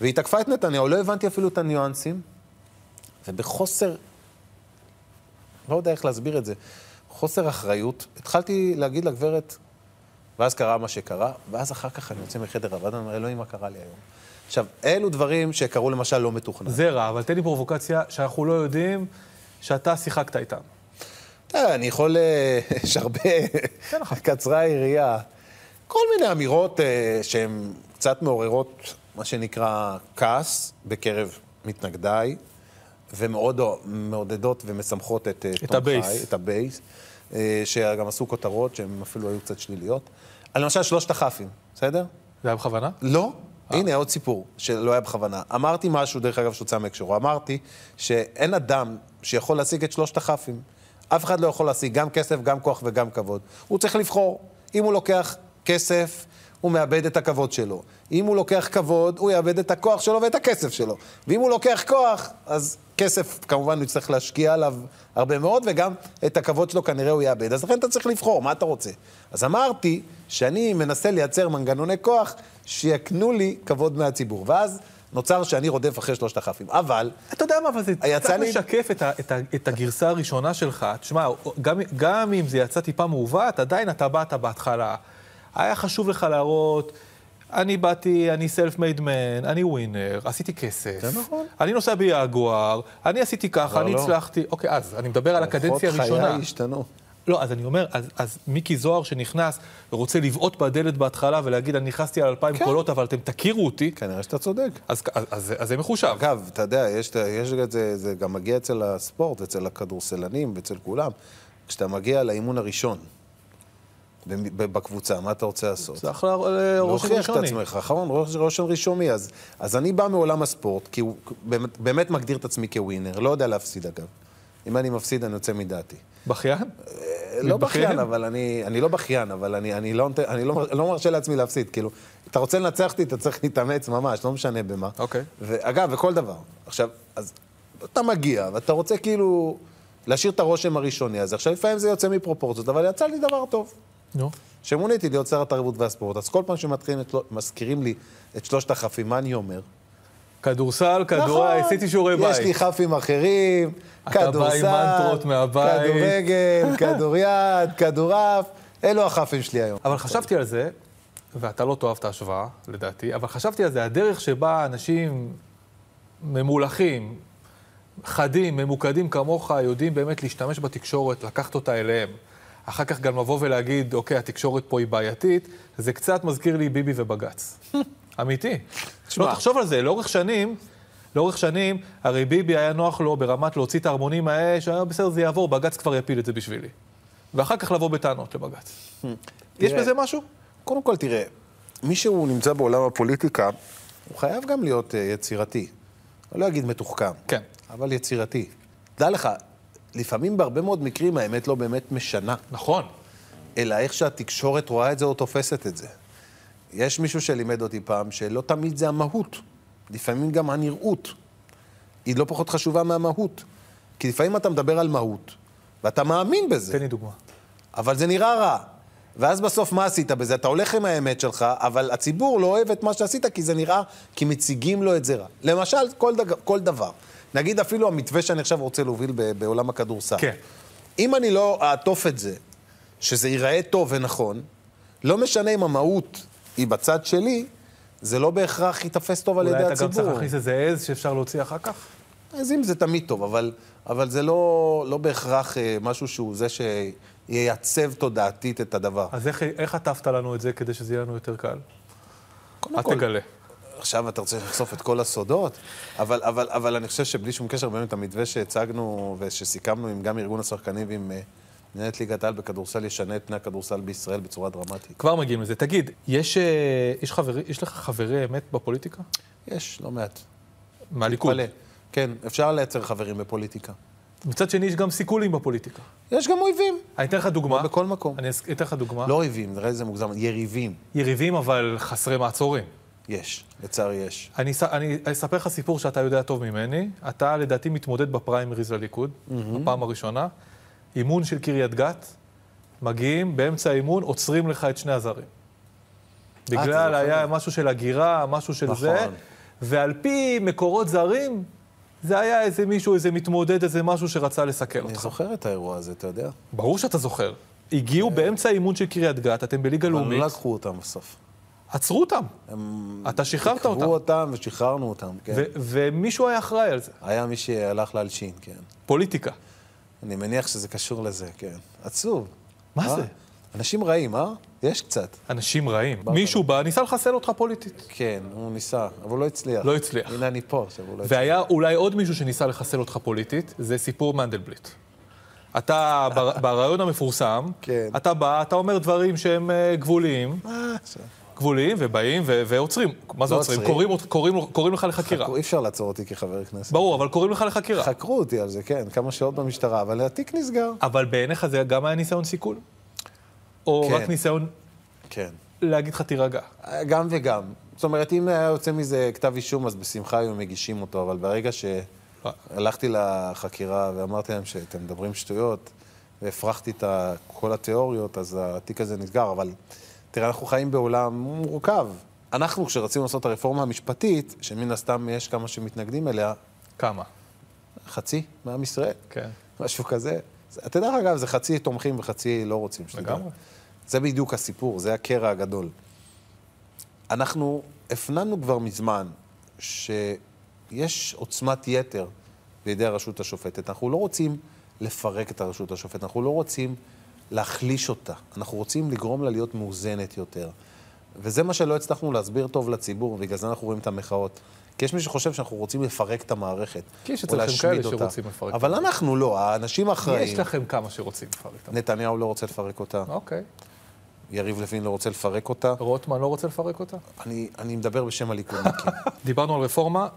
B: והיא תקפה את נתניהו, לא הבנתי אפילו את הניואנסים, ובחוסר, לא יודע איך להסביר את זה, חוסר אחריות, התחלתי להגיד לגברת, ואז קרה מה שקרה, ואז אחר כך אני יוצא מחדר הוועדה, אני אומר, אלוהים, מה קרה לי היום? עכשיו, אלו דברים שקרו למשל לא מתוכנן.
A: זה רע, אבל תן לי פרובוקציה שאנחנו לא יודעים שאתה שיחקת איתם.
B: אה, אני יכול... אה, <laughs> יש הרבה... קצרה היריעה. כל מיני אמירות אה, שהן קצת מעוררות, מה שנקרא, כעס בקרב מתנגדיי, ומאוד אה, מעודדות ומשמחות את אה, תומכיי,
A: הבייס.
B: את הבייס, אה, שגם עשו כותרות שהן אפילו היו קצת שליליות. על למשל שלושת הכ"פים, בסדר?
A: זה היה בכוונה?
B: לא. הנה עוד סיפור שלא היה בכוונה. אמרתי משהו, דרך אגב, שהוצא מהקשרו. אמרתי שאין אדם שיכול להשיג את שלושת הכ"פים. אף אחד לא יכול להשיג גם כסף, גם כוח וגם כבוד. הוא צריך לבחור. אם הוא לוקח כסף, הוא מאבד את הכבוד שלו. אם הוא לוקח כבוד, הוא יאבד את הכוח שלו ואת הכסף שלו. ואם הוא לוקח כוח, אז כסף, כמובן, הוא יצטרך להשקיע עליו הרבה מאוד, וגם את הכבוד שלו כנראה הוא יאבד. אז לכן אתה צריך לבחור, מה אתה רוצה? אז אמרתי שאני מנסה לייצר מנגנוני כוח שיקנו לי כבוד מהציבור. ואז נוצר שאני רודף אחרי שלושת הכ"פים. אבל,
A: אתה יודע מה, אבל זה
B: יצא
A: קצת
B: לי-
A: משקף את, ה, את, ה, את הגרסה הראשונה שלך. תשמע, גם, גם אם זה יצא טיפה מעוות, עדיין אתה באת בהתחלה. היה חשוב לך להראות, אני באתי, אני סלף מייד מן, אני ווינר, עשיתי כסף.
B: זה נכון.
A: אני נוסע ביגואר, אני עשיתי ככה, אני
B: לא.
A: הצלחתי. אוקיי, אז אני מדבר על הקדנציה
B: אורחות
A: הראשונה.
B: חיי השתנו.
A: לא, אז אני אומר, אז, אז מיקי זוהר שנכנס, רוצה לבעוט בדלת בהתחלה ולהגיד, אני נכנסתי על אלפיים
B: כן.
A: קולות, אבל אתם תכירו אותי,
B: כנראה שאתה צודק.
A: אז, אז, אז, אז זה מחושב.
B: אגב, אתה יודע, יש, יש את זה, זה גם מגיע אצל הספורט, אצל הכדורסלנים, ואצל כולם. כשאתה מגיע לאימון הראשון במ- ב- בקבוצה, מה אתה רוצה לעשות?
A: זה אחלה אה, רושם
B: להוכיח את
A: ראשוני.
B: עצמך, נכון, ראש- רושם ראשוני. אז, אז אני בא מעולם הספורט, כי הוא באמת, באמת מגדיר את עצמי כווינר, לא יודע להפסיד אגב. אם אני מפסיד, אני יוצא מדעתי.
A: בכיין?
B: לא
A: מתבכיין? אוקיי.
B: בכיין, אבל אני, אני לא בכיין, אבל אני, אני, לא, נותן- אני לא, לא מרשה לעצמי להפסיד. כאילו, אתה רוצה לנצח אותי, אתה צריך להתאמץ ממש, לא משנה במה.
A: אוקיי.
B: ואגב, וכל דבר. עכשיו, אז אתה מגיע, ואתה רוצה כאילו להשאיר את הרושם הראשוני הזה. עכשיו, לפעמים זה יוצא מפרופורציות, אבל יצא לי דבר טוב.
A: נו.
B: כשמוניתי להיות שר התרבות והספורט, אז כל פעם שמזכירים לי את שלושת החפים, מה אני אומר?
A: כדורסל, כדורי,
B: נכון.
A: עשיתי שיעורי בית.
B: יש לי חפים אחרים,
A: אתה בא עם
B: כדורסל,
A: מנטרות מהבית.
B: כדורגל, כדוריד, כדורעף, אלו החפים שלי היום.
A: אבל חשבתי על זה, ואתה לא תאהב את ההשוואה, לדעתי, אבל חשבתי על זה, הדרך שבה אנשים ממולחים, חדים, ממוקדים כמוך, יודעים באמת להשתמש בתקשורת, לקחת אותה אליהם. אחר כך גם לבוא ולהגיד, אוקיי, התקשורת פה היא בעייתית, זה קצת מזכיר לי ביבי ובג"ץ. אמיתי.
B: תשמע.
A: לא, תחשוב על זה, לאורך שנים, לאורך שנים, הרי ביבי היה נוח לו ברמת להוציא את הערמונים האש, היה בסדר, זה יעבור, בג"ץ כבר יפיל את זה בשבילי. ואחר כך לבוא בטענות לבג"ץ. יש
B: תראה,
A: בזה משהו?
B: קודם כל, תראה, מי שהוא נמצא בעולם הפוליטיקה, הוא חייב גם להיות אה, יצירתי. אני לא אגיד מתוחכם,
A: כן.
B: אבל יצירתי. דע לך, לפעמים בהרבה מאוד מקרים האמת לא באמת משנה.
A: נכון.
B: אלא איך שהתקשורת רואה את זה או תופסת את זה. יש מישהו שלימד אותי פעם שלא תמיד זה המהות, לפעמים גם הנראות. היא לא פחות חשובה מהמהות. כי לפעמים אתה מדבר על מהות, ואתה מאמין בזה,
A: תן לי דוגמה.
B: אבל זה נראה רע. ואז בסוף מה עשית בזה? אתה הולך עם האמת שלך, אבל הציבור לא אוהב את מה שעשית, כי זה נראה, כי מציגים לו את זה רע. למשל, כל, דג, כל דבר. נגיד אפילו המתווה שאני עכשיו רוצה להוביל ב, בעולם הכדורסל.
A: כן.
B: אם אני לא אעטוף את זה, שזה ייראה טוב ונכון, לא משנה אם המהות היא בצד שלי, זה לא בהכרח ייתפס טוב על ידי
A: אולי
B: הציבור.
A: אתה גם צריך להכניס איזה עז שאפשר להוציא אחר כך?
B: אז אם זה תמיד טוב, אבל, אבל זה לא, לא בהכרח אה, משהו שהוא זה שייצב תודעתית את הדבר.
A: אז איך- איך עטפת לנו את זה כדי שזה יהיה לנו יותר קל? אל
B: כל-
A: תגלה.
B: עכשיו אתה רוצה לחשוף את כל הסודות, אבל, אבל, אבל אני חושב שבלי שום קשר, באמת המתווה שהצגנו ושסיכמנו עם גם ארגון השחקנים ועם אה, מנהלת ליגת העל בכדורסל ישנה את פני הכדורסל בישראל בצורה דרמטית.
A: כבר מגיעים לזה. תגיד, יש אה, יש חברי- יש לך חברי אמת בפוליטיקה?
B: יש, לא מעט.
A: מהליכוד.
B: מלא. כן, אפשר לייצר חברים בפוליטיקה.
A: מצד שני, יש גם סיכולים בפוליטיקה.
B: יש גם אויבים.
A: אני אתן לך דוגמה.
B: לא, בכל מקום.
A: אני אס- אתן לך דוגמה.
B: לא אויבים, נראה לי זה מוגזם, יריבים.
A: יריבים, אבל חסרי מעצורים.
B: יש, לצערי יש.
A: אני, ס- אני אספר לך סיפור שאתה יודע טוב ממני. אתה לדעתי מתמודד בפריימריז לליכוד, בפעם הראשונה. אימון של קריית גת, מגיעים, באמצע האימון עוצרים לך את שני הזרים. בגלל
B: אה, זוכר.
A: היה משהו של הגירה, משהו של
B: לא נכון.
A: זה. ועל פי מקורות זרים, זה היה איזה מישהו, איזה מתמודד, איזה משהו שרצה לסכל
B: אני
A: אותך.
B: זוכר את האירוע הזה, אתה יודע.
A: ברור שאתה זוכר. הגיעו באמצע האימון של קריית גת, אתם בליגה
B: אה. אבל
A: לאומית,
B: לא לקחו אותם בסוף.
A: עצרו אותם. אתה שחררת אותם.
B: לקחו אותם ושחררנו אותם, כן.
A: ו- ומישהו היה אחראי על זה.
B: היה מי שהלך להלשין, כן.
A: פוליטיקה.
B: אני מניח שזה קשור לזה, כן. עצוב.
A: מה
B: אה?
A: זה?
B: אנשים רעים, אה? יש קצת.
A: אנשים רעים. מישהו בא, ניסה לחסל אותך פוליטית.
B: כן, הוא ניסה, אבל הוא לא הצליח.
A: לא הצליח.
B: הנה אני פה, עכשיו הוא לא הצליח.
A: והיה אולי עוד מישהו שניסה לחסל אותך פוליטית, זה סיפור מנדלבליט. אתה,
B: <laughs>
A: בר- ברעיון המפורסם,
B: כן.
A: אתה בא, אתה אומר דברים שהם אה, גבוליים, אה, גבוליים, ובאים ו- ועוצרים. מה זה
B: לא
A: עוצרים?
B: עוצרים.
A: קוראים- קוראים- קוראים לך לחקירה.
B: חכו, אי אפשר לעצור אותי כחבר כנסת.
A: ברור, אבל קוראים לך לחקירה.
B: חקרו אותי על זה, כן, כמה שעות במשטרה, אבל התיק נסגר.
A: אבל בעיניך זה גם היה ניסיון סיכול? או
B: כן.
A: רק ניסיון
B: כן.
A: להגיד לך תירגע?
B: גם וגם. זאת אומרת, אם היה יוצא מזה כתב אישום, אז בשמחה היו מגישים אותו, אבל ברגע שהלכתי לחקירה ואמרתי להם שאתם מדברים שטויות, והפרחתי את ה- כל התיאוריות, אז התיק הזה נסגר. אבל תראה, אנחנו חיים בעולם מורכב. אנחנו, כשרצינו לעשות את הרפורמה המשפטית, שמן הסתם יש כמה שמתנגדים אליה,
A: כמה?
B: חצי מעם ישראל,
A: כן.
B: משהו כזה. זה- אתה יודע, אגב, זה חצי תומכים וחצי לא רוצים. שתדע.
A: לגמרי.
B: זה בדיוק הסיפור, זה הקרע הגדול. אנחנו הפנמנו כבר מזמן שיש עוצמת יתר בידי הרשות השופטת. אנחנו לא רוצים לפרק את הרשות השופטת, אנחנו לא רוצים להחליש אותה. אנחנו רוצים לגרום לה להיות מאוזנת יותר. וזה מה שלא הצלחנו להסביר טוב לציבור, בגלל זה אנחנו רואים את המחאות. כי יש מי שחושב שאנחנו רוצים לפרק את המערכת.
A: כי יש
B: או
A: אצלכם
B: להשמיד
A: כאלה
B: אותה.
A: שרוצים לפרק את
B: אבל אנחנו לא, האנשים האחראים.
A: יש לכם כמה שרוצים לפרק. אותה.
B: נתניהו לא רוצה לפרק אותה,
A: אוקיי.
B: יריב לוין לא רוצה לפרק אותה.
A: רוטמן לא רוצה לפרק אותה?
B: אני, אני מדבר בשם הליכודניקים.
A: דיברנו על רפורמה,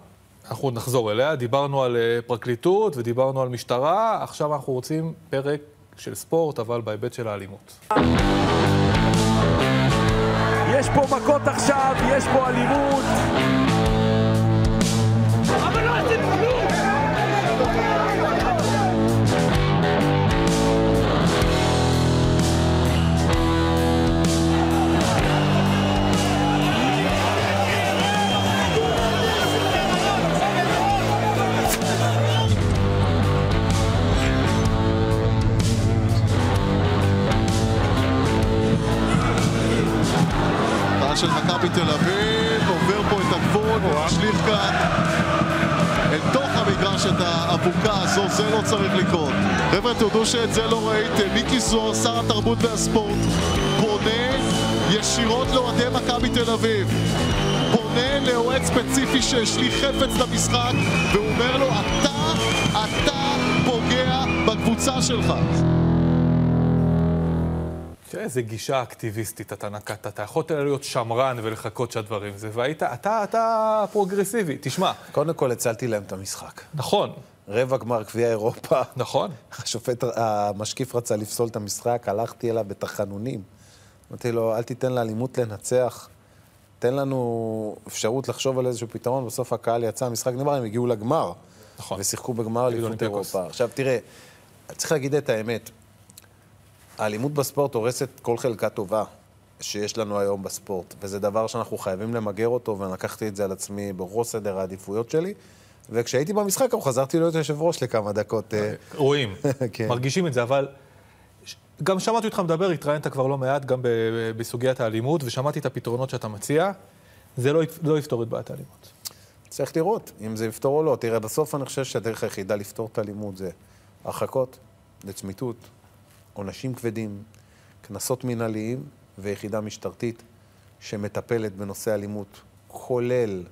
A: אנחנו עוד נחזור אליה. דיברנו על אה, פרקליטות ודיברנו על משטרה, עכשיו אנחנו רוצים פרק של ספורט, אבל בהיבט של האלימות.
F: יש פה מכות עכשיו, יש פה אלימות.
K: של מכבי תל אביב, עובר פה את הגבול ומשליך כאן אל תוך המגרש את האבוקה הזו, זה לא צריך לקרות. חבר'ה, תודו שאת זה לא ראיתם. מיקי זוהר, שר התרבות והספורט, פונה ישירות לאוהדי מכבי תל אביב. פונה לאוהד ספציפי שהשליך חפץ למשחק, והוא אומר לו, אתה, אתה פוגע בקבוצה שלך.
A: תראה איזה גישה אקטיביסטית אתה נקטת. אתה יכולת להיות שמרן ולחכות שהדברים זה, והיית, אתה, אתה פרוגרסיבי. תשמע.
B: קודם כל הצלתי להם את המשחק.
A: נכון.
B: רבע גמר גביע אירופה.
A: נכון.
B: השופט, המשקיף רצה לפסול את המשחק, הלכתי אליו בתחנונים. אמרתי לו, אל תיתן לאלימות לנצח. תן לנו אפשרות לחשוב על איזשהו פתרון. בסוף הקהל יצא, המשחק נגמר, הם הגיעו לגמר.
A: נכון.
B: ושיחקו בגמר אליפות
A: אולימפיאקוס.
B: אירופה. עכשיו, תראה, צריך להגיד את האמת. האלימות בספורט הורסת כל חלקה טובה שיש לנו היום בספורט, וזה דבר שאנחנו חייבים למגר אותו, ואני לקחתי את זה על עצמי בראש סדר העדיפויות שלי. וכשהייתי במשחק, גם חזרתי להיות יושב ראש לכמה דקות. אה,
A: רואים,
B: כן.
A: מרגישים את זה, אבל ש- גם שמעתי אותך מדבר, התראיינת כבר לא מעט, גם ב- ב- בסוגיית האלימות, ושמעתי את הפתרונות שאתה מציע. זה לא, יפ- לא יפתור את בעיית האלימות.
B: צריך לראות אם זה יפתור או לא. תראה, בסוף אני חושב שהדרך היחידה לפתור את האלימות זה הרחקות, לצמיתות, עונשים כבדים, קנסות מינהליים ויחידה משטרתית שמטפלת בנושא אלימות, כולל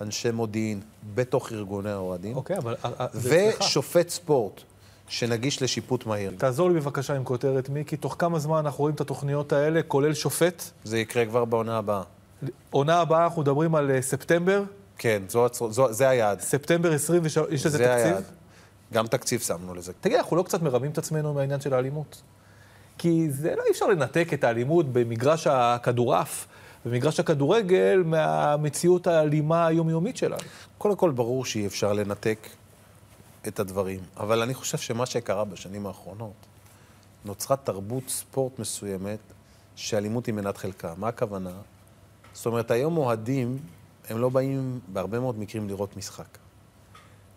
B: אנשי מודיעין בתוך ארגוני האוהדים.
A: אוקיי, אבל... אה, אה, זה אצלך.
B: ושופט ספורט שנגיש לשיפוט מהיר.
A: תעזור לי בבקשה עם כותרת, מיקי, תוך כמה זמן אנחנו רואים את התוכניות האלה, כולל שופט?
B: זה יקרה כבר בעונה הבאה.
A: עונה הבאה, אנחנו מדברים על אה, ספטמבר.
B: כן, זו, הצ- זו, זה היעד.
A: ספטמבר 23, יש לזה
B: זה
A: תקציב?
B: היעד. גם תקציב שמנו לזה.
A: תגיד, אנחנו לא קצת מרמים את עצמנו מהעניין של האלימות? כי זה לא אי אפשר לנתק את האלימות במגרש הכדורעף, במגרש הכדורגל, מהמציאות האלימה היומיומית שלנו.
B: קודם כל, ברור שאי אפשר לנתק את הדברים, אבל אני חושב שמה שקרה בשנים האחרונות, נוצרה תרבות ספורט מסוימת שאלימות היא מנת חלקה. מה הכוונה? זאת אומרת, היום אוהדים, הם לא באים בהרבה מאוד מקרים לראות משחק.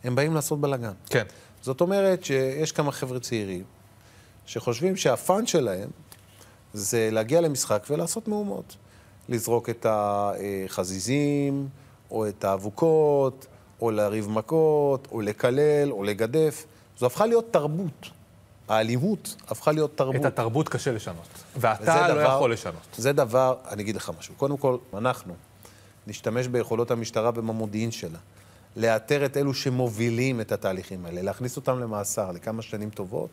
B: הם באים לעשות בלאגן.
A: כן.
B: זאת אומרת שיש כמה חבר'ה צעירים שחושבים שהפאן שלהם זה להגיע למשחק ולעשות מהומות. לזרוק את החזיזים, או את האבוקות, או לריב מכות, או לקלל, או לגדף. זו הפכה להיות תרבות. האלימות הפכה להיות תרבות.
A: את התרבות קשה לשנות.
B: וזה
A: ואתה לא
B: דבר-
A: יכול לשנות.
B: זה דבר, אני אגיד לך משהו. קודם כל, אנחנו נשתמש ביכולות המשטרה ובמודיעין שלה. לאתר את אלו שמובילים את התהליכים האלה, להכניס אותם למאסר לכמה שנים טובות.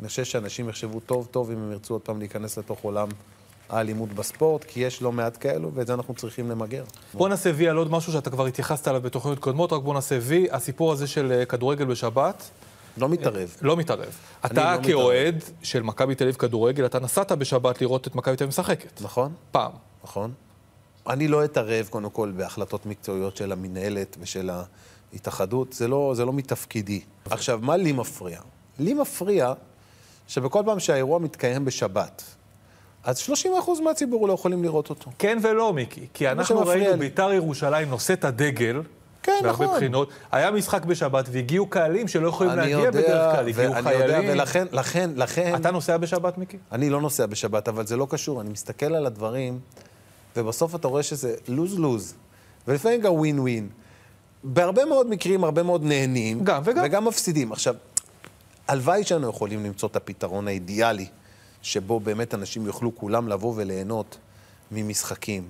B: אני חושב שאנשים יחשבו טוב טוב אם הם ירצו עוד פעם להיכנס לתוך עולם האלימות בספורט, כי יש לא מעט כאלו, ואת זה אנחנו צריכים למגר.
A: בוא נעשה וי על עוד משהו שאתה כבר התייחסת אליו בתוכניות קודמות, רק בוא נעשה וי. הסיפור הזה של אה, כדורגל בשבת...
B: לא מתערב.
A: לא מתערב.
B: אני
A: אתה
B: לא
A: כאוהד של מכבי תל אביב כדורגל, אתה נסעת בשבת לראות את מכבי תל אביב משחקת.
B: נכון.
A: פעם.
B: נכון. אני לא אתערב, קודם כל, בהחלטות מקצועיות של המינהלת ושל ההתאחדות. זה לא, זה לא מתפקידי. עכשיו, מה לי מפריע? לי מפריע שבכל פעם שהאירוע מתקיים בשבת, אז 30 אחוז מהציבור לא יכולים לראות אותו.
A: כן ולא, מיקי. כי אנחנו
B: שמפריע
A: ראינו
B: לי.
A: ביתר ירושלים נושאת הדגל.
B: כן,
A: בהרבה
B: נכון.
A: בחינות. היה משחק בשבת והגיעו קהלים שלא יכולים
B: אני
A: להגיע
B: יודע,
A: בדרך כלל, הגיעו
B: ואני
A: חיילים.
B: יודע, ולכן, לכן, לכן...
A: אתה נוסע בשבת, מיקי?
B: אני לא נוסע בשבת, אבל זה לא קשור. אני מסתכל על הדברים, ובסוף אתה רואה שזה לוז-לוז, ולפעמים גם ווין-ווין. בהרבה מאוד מקרים, הרבה מאוד נהנים.
A: גם וגם.
B: וגם מפסידים. עכשיו, הלוואי שאנו יכולים למצוא את הפתרון האידיאלי, שבו באמת אנשים יוכלו כולם לבוא וליהנות ממשחקים.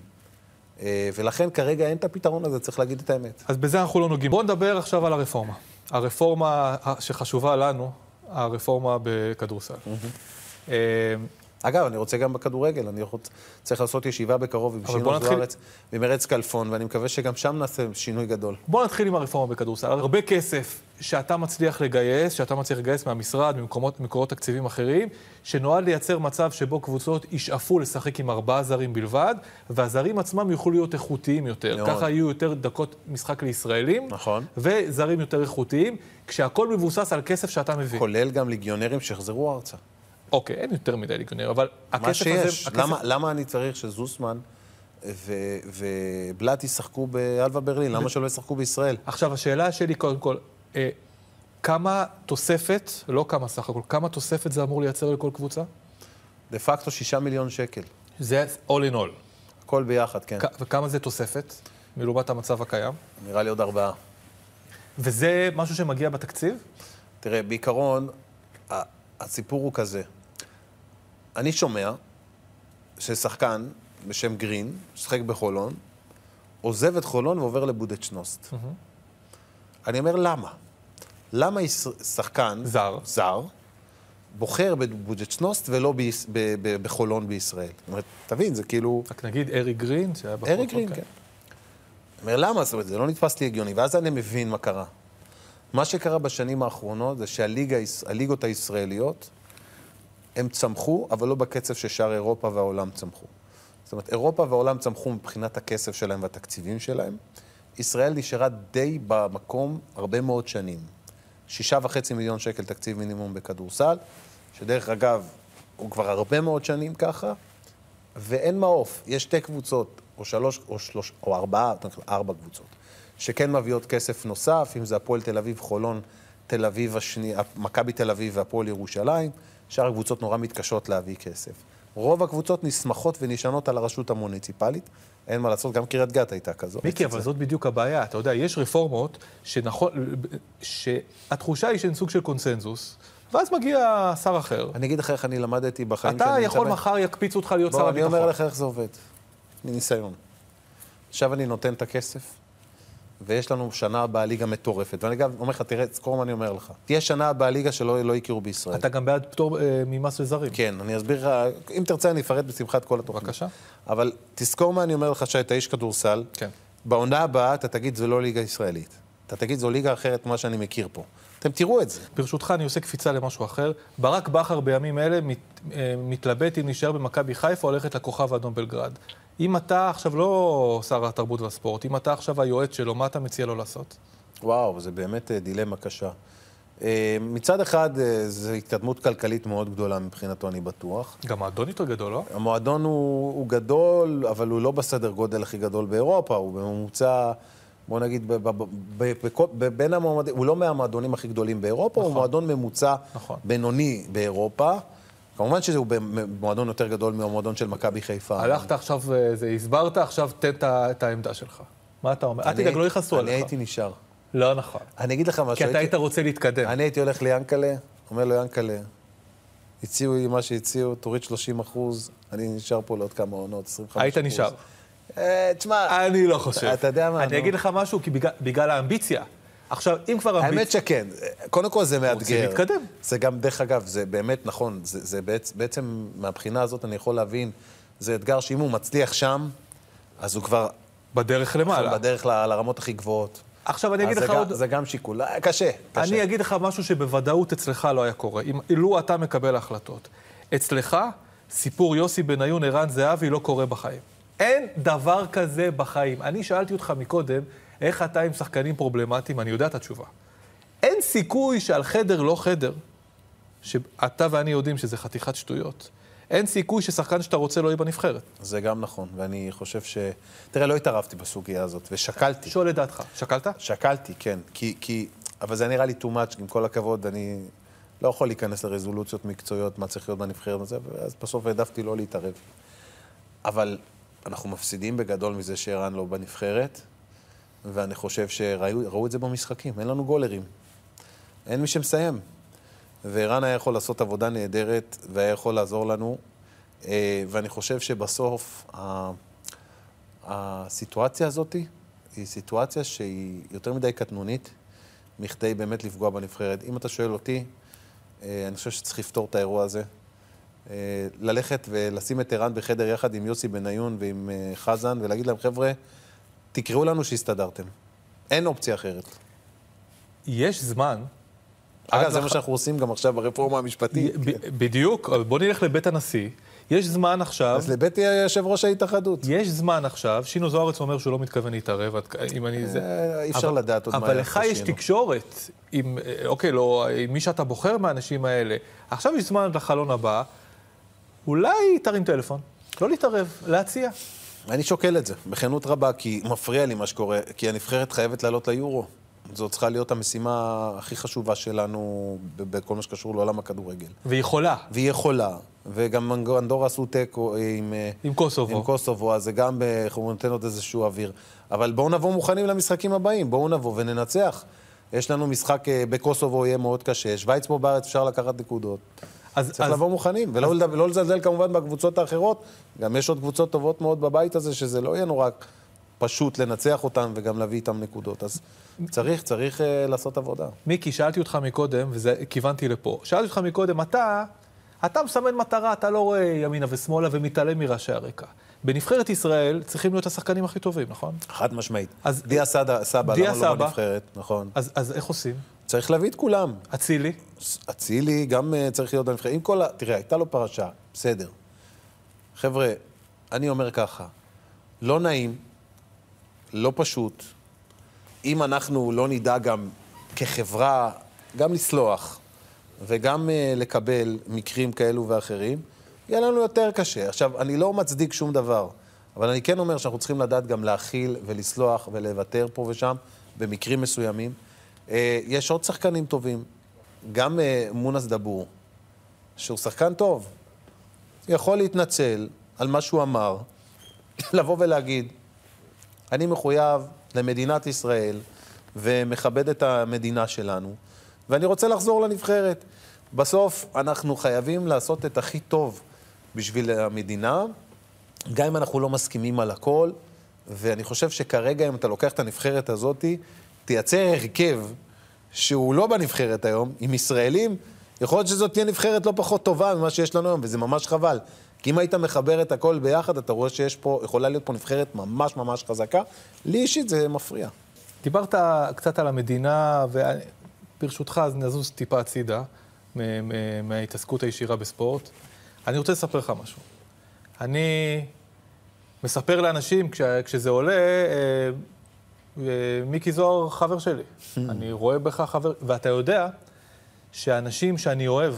B: אה, ולכן כרגע אין את הפתרון הזה, צריך להגיד את האמת.
A: אז בזה אנחנו לא נוגעים. בואו נדבר עכשיו על הרפורמה. הרפורמה שחשובה לנו, הרפורמה בכדורסל. אמ,
B: אגב, אני רוצה גם בכדורגל, אני רוצ... צריך לעשות ישיבה בקרוב עם
A: אבל בוא
B: שינוי
A: נתחיל-
B: זוארץ ועם ארץ כלפון, ואני מקווה שגם שם נעשה שינוי גדול.
A: בואו נתחיל עם הרפורמה בכדורסל. הרבה כסף שאתה מצליח לגייס, שאתה מצליח לגייס מהמשרד, ממקומות- ממקורות תקציבים אחרים, שנועד לייצר מצב שבו קבוצות ישאפו לשחק עם ארבעה זרים בלבד, והזרים עצמם יוכלו להיות איכותיים יותר.
B: מאוד.
A: ככה יהיו יותר דקות משחק לישראלים,
B: נכון.
A: וזרים יותר איכותיים, כשהכול מבוסס על כסף שאתה מביא.
B: כולל גם ליגיונרים שיחזרו ארצה.
A: אוקיי, אין יותר מדי ליגיונר, אבל הכסף
B: מה שיש,
A: הזה... הכסף-
B: למה, למה אני צריך שזוסמן ו- ובלאט ישחקו באלווה ברלין? למה שלא ישחקו בישראל?
A: עכשיו, השאלה שלי, קודם כל, אה, כמה תוספת, לא כמה סך הכל, כמה תוספת זה אמור לייצר לכל קבוצה?
B: דה פקטו שישה מיליון שקל.
A: זה all in all.
B: הכל ביחד, כן.
A: כ- וכמה זה תוספת מלעומת המצב הקיים?
B: נראה לי עוד ארבעה.
A: וזה משהו שמגיע בתקציב?
B: תראה, בעיקרון, ה- הסיפור הוא כזה. אני שומע ששחקן בשם גרין, ששחק בחולון, עוזב את חולון ועובר לבודדשנוסט. אני אומר, למה? למה יש- שחקן... זר. זר, בוחר בבוג'צ'נוסט ולא ביש, ב, ב, בחולון בישראל? זאת אומרת, תבין, זה כאילו...
A: רק נגיד ארי גרין, שהיה אוקיי. בחור...
B: ארי גרין, כן. אני אומר, למה? זאת אומרת, זה לא נתפס לי הגיוני. ואז אני מבין מה קרה. מה שקרה בשנים האחרונות זה שהליגות הישראליות, הם צמחו, אבל לא בקצב ששאר אירופה והעולם צמחו. זאת אומרת, אירופה והעולם צמחו מבחינת הכסף שלהם והתקציבים שלהם. ישראל נשארה די במקום הרבה מאוד שנים. שישה וחצי מיליון שקל תקציב מינימום בכדורסל, שדרך אגב, הוא כבר הרבה מאוד שנים ככה, ואין מעוף. יש שתי קבוצות, או שלוש, או שלוש, או ארבעה, ארבע קבוצות, שכן מביאות כסף נוסף, אם זה הפועל תל אביב, חולון, תל אביב השנייה, מכבי תל אביב והפועל ירושלים, שאר הקבוצות נורא מתקשות להביא כסף. רוב הקבוצות נסמכות ונשענות על הרשות המוניציפלית, אין מה לעשות, גם קריית גת הייתה כזאת.
A: מיקי, אבל זאת בדיוק הבעיה. אתה יודע, יש רפורמות שנכון... שהתחושה היא שהן סוג של קונסנזוס, ואז מגיע שר אחר.
B: אני אגיד לך איך אני למדתי בחיים
A: אתה
B: שאני
A: יכול
B: מתאמן.
A: מחר יקפיצו אותך להיות שר
B: בוא, אני
A: הביטחון.
B: אומר לך איך זה עובד, מניסיון. עכשיו אני נותן את הכסף, ויש לנו שנה הבאה ליגה מטורפת. ואני גם אומר לך, תראה, תזכור מה אני אומר לך. תהיה שנה הבאה ליגה שלא לא יכירו בישראל.
A: אתה גם בעד פטור אה, ממס לזרים.
B: כן, אני אסביר לך, אם תרצה אני אפרט בשמחה את כל התוכנית.
A: בבקשה.
B: אבל תזכור מה אני אומר לך, שאתה איש כדורסל.
A: כן.
B: בעונה הבאה אתה תגיד, זו לא ליגה ישראלית. אתה תגיד, זו ליגה אחרת ממה שאני מכיר פה. אתם תראו את זה.
A: ברשותך, אני עושה קפיצה למשהו אחר. ברק בכר בימים אלה מת, אה, מתלבט אם להישאר במכבי חיפה או ללכת לכוכב האדום בלגרד. אם אתה עכשיו לא שר התרבות והספורט, אם אתה עכשיו היועץ שלו, מה אתה מציע לו לעשות?
B: וואו, זה באמת אה, דילמה קשה. אה, מצד אחד, אה, זו התקדמות כלכלית מאוד גדולה מבחינתו, אני בטוח.
A: גם האדון יותר גדול, לא?
B: המועדון הוא, הוא גדול, אבל הוא לא בסדר גודל הכי גדול באירופה, הוא בממוצע, בוא נגיד, ב, ב, ב, ב, בכל- ב, בין המועמדים, הוא לא מהמועדונים הכי גדולים באירופה, נכון. הוא מועדון ממוצע נכון. בינוני באירופה. כמובן שהוא במועדון יותר גדול מהמועדון של מכבי חיפה.
A: הלכת עכשיו, אה, זה, הסברת, עכשיו תן את ה- את העמדה שלך. מה אתה אומר? אל
B: אני
A: תדאג, לא
B: הייתי-
A: יכעסו עליך.
B: אני הייתי נשאר.
A: לא נכון.
B: אני אגיד לך משהו.
A: כי אתה היית
B: הייתי-
A: רוצה להתקדם.
B: אני הייתי הולך ליענקלה, אומר לו, יענקלה, הציעו לי מה שהציעו, תוריד 30 אחוז, אני נשאר פה לעוד כמה עונות, 25 אחוז.
A: היית נשאר.
B: אה, תשמע...
A: אני לא חושב.
B: אתה יודע מה,
A: אני
B: נו.
A: אגיד לך משהו, כי בגלל, בגלל האמביציה. עכשיו, אם כבר אמביציה...
B: האמת שכן. קודם כל זה מאתגר.
A: לא להתקדם.
B: זה גם, דרך אגב, זה באמת נכון, זה, זה בעצ, בעצם, מהבחינה הזאת אני יכול להבין, זה אתגר שאם הוא מצליח שם, אז הוא כבר... נכון
A: בדרך למעלה.
B: בדרך ל, לרמות הכי גבוהות.
A: עכשיו אני
B: אז
A: אגיד
B: זה
A: לך
B: גם-
A: עוד-
B: זה גם שיקול, אה, קשה, קשה.
A: אני אגיד לך משהו שבוודאות אצלך לא היה קורה, אם, לו אתה מקבל החלטות. אצלך, סיפור יוסי בניון, ערן זהבי, לא קורה בחיים. אין דבר כזה בחיים. אני שאלתי אותך מקודם, איך אתה עם שחקנים פרובלמטיים, אני יודע את התשובה. אין סיכוי שעל חדר לא חדר, שאתה ואני יודעים שזה חתיכת שטויות, אין סיכוי ששחקן שאתה רוצה לא יהיה בנבחרת.
B: זה גם נכון, ואני חושב ש... תראה, לא התערבתי בסוגיה הזאת, ושקלתי.
A: שואל את דעתך. שקלת?
B: שקלתי, כן. כי, כי... אבל זה נראה לי too much, עם כל הכבוד, אני לא יכול להיכנס לרזולוציות מקצועיות, מה צריך להיות בנבחרת הזה, ואז בסוף העדפתי לא להתערב. אבל אנחנו מפסידים בגדול מזה שערן לא בנבחרת, ואני חושב שראו ראו את זה במשחקים, אין לנו גולרים. אין מי שמסיים. וערן היה יכול לעשות עבודה נהדרת, והיה יכול לעזור לנו, אה, ואני חושב שבסוף ה- הסיטואציה הזאת היא סיטואציה שהיא יותר מדי קטנונית, מכדי באמת לפגוע בנבחרת. אם אתה שואל אותי, אה, אני חושב שצריך לפתור את האירוע הזה. אה, ללכת ולשים את ערן בחדר יחד עם יוסי בניון ועם אה, חזן, ולהגיד להם, חבר'ה, תקראו לנו שהסתדרתם. אין אופציה אחרת.
A: יש זמן.
B: אגב,
A: עד
B: זה
A: לח-
B: מה שאנחנו עושים גם עכשיו ברפורמה המשפטית.
A: ב- בדיוק, אבל בוא נלך לבית הנשיא. יש זמן עכשיו...
B: אז לבית יושב ראש ההתאחדות.
A: יש זמן עכשיו, שינו זוארץ אומר שהוא לא מתכוון להתערב, עד- אם אני... זה-
B: אה, אי אפשר
A: אבל-
B: לדעת עוד מה
A: אבל
B: יעשה
A: לך יש
B: שינו.
A: תקשורת עם, אה, אוקיי, לא, עם מי שאתה בוחר מהאנשים האלה. עכשיו יש זמן לחלון הבא, אולי תרים טלפון. לא להתערב, להציע.
B: אני שוקל את זה, בכנות רבה, כי מפריע לי מה שקורה, כי הנבחרת חייבת לעלות ליורו. זו צריכה להיות המשימה הכי חשובה שלנו ב- בכל מה שקשור לעולם הכדורגל.
A: והיא יכולה.
B: והיא יכולה, וגם אנג- אנדורה עשו תיקו עם, אה,
A: עם קוסובו.
B: עם קוסובו, אז זה גם, אה, איך אומרים, נותן עוד איזשהו אוויר. אבל בואו נבוא מוכנים למשחקים הבאים, בואו נבוא וננצח. יש לנו משחק אה, בקוסובו, יהיה מאוד קשה. שווייץ פה בארץ אפשר לקחת נקודות.
A: אז,
B: צריך
A: אז-
B: לבוא מוכנים, ולא לדבר- לא לזלזל כמובן בקבוצות האחרות. גם יש עוד קבוצות טובות מאוד בבית הזה, שזה לא יהיה נורא פשוט לנצח אותן וגם להביא איתן נקודות. אז צריך, צריך אה, לעשות עבודה.
A: מיקי, שאלתי אותך מקודם, וכיוונתי לפה, שאלתי אותך מקודם, אתה, אתה מסמן מטרה, אתה לא רואה ימינה ושמאלה ומתעלם מרעשי הרקע. בנבחרת ישראל צריכים להיות השחקנים הכי טובים, נכון?
B: חד משמעית. אז דיה סבא, סבא,
A: דיה
B: למה לא
A: סבא.
B: בנבחרת? נכון.
A: אז, אז איך עושים?
B: צריך להביא את כולם.
A: אצילי?
B: אצילי גם אה, צריך להיות בנבחרת. עם כל ה... תראה, הייתה לו פרשה, בסדר. חבר'ה, אני אומר ככה, לא נעים, לא פשוט. אם אנחנו לא נדע גם כחברה, גם לסלוח וגם אה, לקבל מקרים כאלו ואחרים, יהיה לנו יותר קשה. עכשיו, אני לא מצדיק שום דבר, אבל אני כן אומר שאנחנו צריכים לדעת גם להכיל ולסלוח ולוותר פה ושם במקרים מסוימים. אה, יש עוד שחקנים טובים, גם אה, מונס דבור, שהוא שחקן טוב, יכול להתנצל על מה שהוא אמר, <coughs> לבוא ולהגיד, אני מחויב למדינת ישראל ומכבד את המדינה שלנו, ואני רוצה לחזור לנבחרת. בסוף אנחנו חייבים לעשות את הכי טוב בשביל המדינה, גם אם אנחנו לא מסכימים על הכל, ואני חושב שכרגע, אם אתה לוקח את הנבחרת הזאת, תייצר הרכב שהוא לא בנבחרת היום, עם ישראלים, יכול להיות שזאת תהיה נבחרת לא פחות טובה ממה שיש לנו היום, וזה ממש חבל. כי אם היית מחבר את הכל ביחד, אתה רואה שיש פה, יכולה להיות פה נבחרת ממש ממש חזקה. לי אישית זה מפריע.
A: דיברת קצת על המדינה, וברשותך, אז נזוז טיפה הצידה מ- מ- מההתעסקות הישירה בספורט. אני רוצה לספר לך משהו. אני מספר לאנשים, כש, כשזה עולה, אה, אה, מיקי זוהר חבר שלי.
B: Hmm.
A: אני רואה בך חבר, ואתה יודע שאנשים שאני אוהב,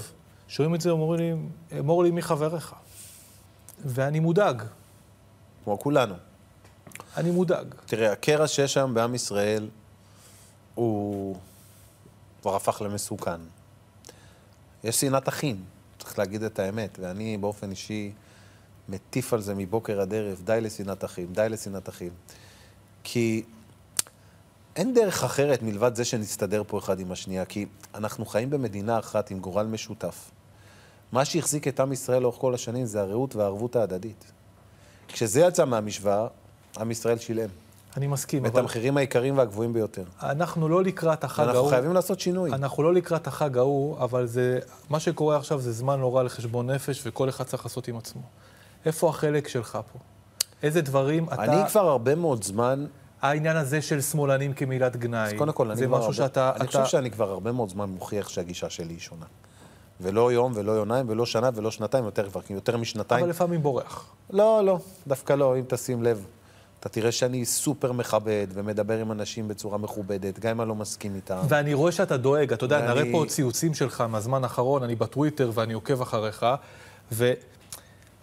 A: שומעים את זה, אומרים לי, אמור לי מי חבריך. ואני מודאג,
B: כמו כולנו.
A: אני מודאג.
B: תראה, הקרע שיש היום בעם ישראל, הוא כבר הפך למסוכן. יש שנאת אחים, צריך להגיד את האמת, ואני באופן אישי מטיף על זה מבוקר עד ערב, די לשנאת אחים, די לשנאת אחים. כי אין דרך אחרת מלבד זה שנסתדר פה אחד עם השנייה, כי אנחנו חיים במדינה אחת עם גורל משותף. מה שהחזיק את עם ישראל לאורך כל השנים זה הרעות והערבות ההדדית. כשזה יצא מהמשוואה, עם ישראל שילם.
A: אני מסכים,
B: את
A: אבל
B: המחירים היקרים והגבוהים ביותר.
A: אנחנו לא לקראת החג ההוא.
B: אנחנו חייבים לעשות שינוי.
A: אנחנו לא לקראת החג ההוא, אבל זה, מה שקורה עכשיו זה זמן לא רע לחשבון נפש, וכל אחד צריך לעשות עם עצמו. איפה החלק שלך פה? איזה דברים אתה...
B: אני כבר הרבה מאוד זמן...
A: העניין הזה של שמאלנים כמילת גנאי,
B: אז קודם כל, אני
A: זה
B: כבר
A: משהו
B: הרבה-
A: שאתה...
B: אני
A: אתה-
B: חושב שאני כבר הרבה מאוד זמן מוכיח שהגישה שלי היא שונה. ולא יום, ולא יומיים, ולא שנה, ולא שנתיים, יותר כבר, כי יותר משנתיים.
A: אבל לפעמים בורח.
B: לא, לא, דווקא לא, אם תשים לב. אתה תראה שאני סופר מכבד, ומדבר עם אנשים בצורה מכובדת, גם אם אני לא מסכים איתם.
A: ואני רואה שאתה דואג, אתה יודע,
B: ואני-
A: נראה פה ציוצים שלך מהזמן האחרון, אני בטוויטר ואני עוקב אחריך,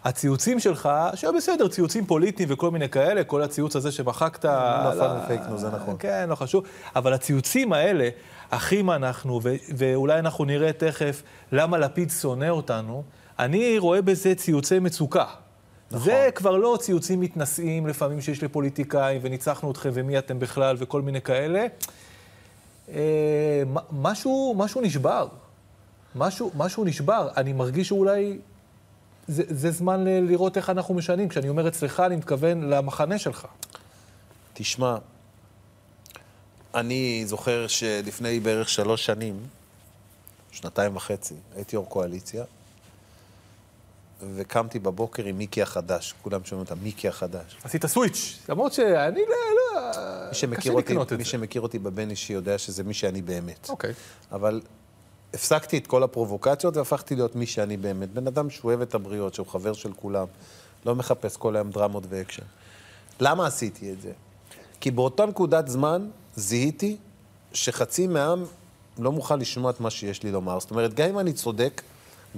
A: והציוצים שלך, שהיו בסדר, ציוצים פוליטיים וכל מיני כאלה, כל הציוץ הזה
B: Mm,
A: שמחקת...
B: נפל
A: על ה-
B: בפייק ניוז, זה נכון.
A: כן, לא חשוב. אבל הציוצים האלה, אחים אנחנו, ו- ואולי אנחנו נראה תכף למה לפיד שונא אותנו, אני רואה בזה ציוצי מצוקה. נכון. זה כבר לא ציוצים מתנשאים לפעמים שיש לפוליטיקאים, וניצחנו אתכם, ומי אתם בכלל, וכל מיני כאלה. אה, מ- משהו, משהו נשבר. משהו, משהו נשבר. אני מרגיש שאולי זה, זה זמן ל- לראות איך אנחנו משנים. כשאני אומר אצלך, אני מתכוון למחנה שלך.
B: תשמע, אני זוכר שלפני בערך שלוש שנים, שנתיים וחצי, הייתי יו"ר קואליציה, וקמתי בבוקר עם מיקי החדש, כולם שומעים אותה, מיקי החדש.
A: עשית סוויץ', למרות שאני לא... לא
B: מי שמכיר
A: קשה
B: אותי,
A: לקנות את
B: מי
A: זה.
B: שמכיר אותי בבין אישי יודע שזה מי שאני באמת.
A: אוקיי.
B: אבל הפסקתי את כל הפרובוקציות והפכתי להיות מי שאני באמת. בן אדם שהוא אוהב את הבריות, שהוא חבר של כולם, לא מחפש כל היום דרמות ואקשן. למה עשיתי את זה? כי באותה נקודת זמן זיהיתי שחצי מהעם לא מוכן לשמוע את מה שיש לי לומר. זאת אומרת, גם אם אני צודק,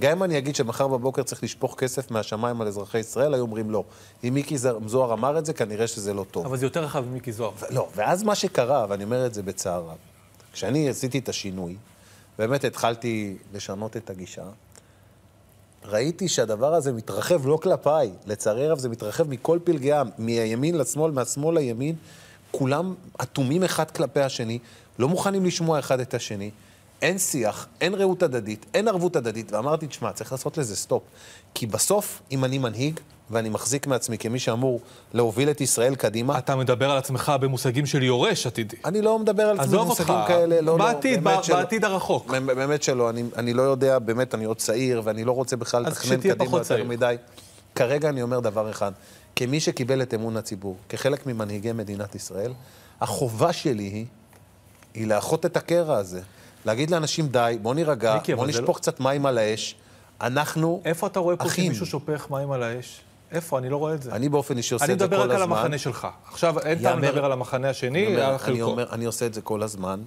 B: גם אם אני אגיד שמחר בבוקר צריך לשפוך כסף מהשמיים על אזרחי ישראל, היו אומרים לא. אם מיקי זוהר אמר את זה, כנראה שזה לא טוב.
A: אבל זה יותר רחב ממיקי זוהר.
B: לא, ואז מה שקרה, ואני אומר את זה בצער רב, כשאני עשיתי את השינוי, באמת התחלתי לשנות את הגישה, ראיתי שהדבר הזה מתרחב לא כלפיי, לצערי הרב זה מתרחב מכל פלגי העם, מהימין לשמאל, מהשמאל לימין, כולם אטומים אחד כלפי השני, לא מוכנים לשמוע אחד את השני, אין שיח, אין רעות הדדית, אין ערבות הדדית, ואמרתי, תשמע, צריך לעשות לזה סטופ. כי בסוף, אם אני מנהיג, ואני מחזיק מעצמי כמי שאמור להוביל את ישראל קדימה...
A: אתה מדבר על עצמך במושגים של יורש עתידי.
B: אני לא מדבר על עצמי
A: עזוב
B: במושגים
A: אותך.
B: כאלה, לא, לא,
A: בעתיד,
B: באמת
A: ב-
B: שלא.
A: בעתיד הרחוק.
B: באמת- באמת שלא, אני, אני לא יודע, באמת, אני עוד צעיר, ואני לא רוצה בכלל
A: אז
B: לתכנן
A: כשתהיה
B: קדימה
A: פחות
B: יותר
A: צעיר.
B: מדי. כרגע אני אומר דבר אחד, כמי שקיבל את אמון הציבור, כחלק ממנהיגי מדינת ישראל, החובה שלי היא, היא לאחות את הקרע הזה. להגיד לאנשים, די, בוא נירגע,
A: מיקי,
B: בוא
A: אבל זה לא
B: נשפוך קצת מים על האש. אנחנו
A: איפה אתה רואה פה
B: אחים.
A: שמישהו שופך מים על האש? איפה? אני לא רואה את זה.
B: אני באופן אישי עושה
A: אני
B: את זה כל
A: מדבר
B: הזמן.
A: רק על המחנה שלך. עכשיו אין טעם
B: יאמר-
A: לדבר על המחנה השני,
B: אני
A: על
B: אומר, אני,
A: חלקו.
B: אומר, אני עושה את זה כל הזמן,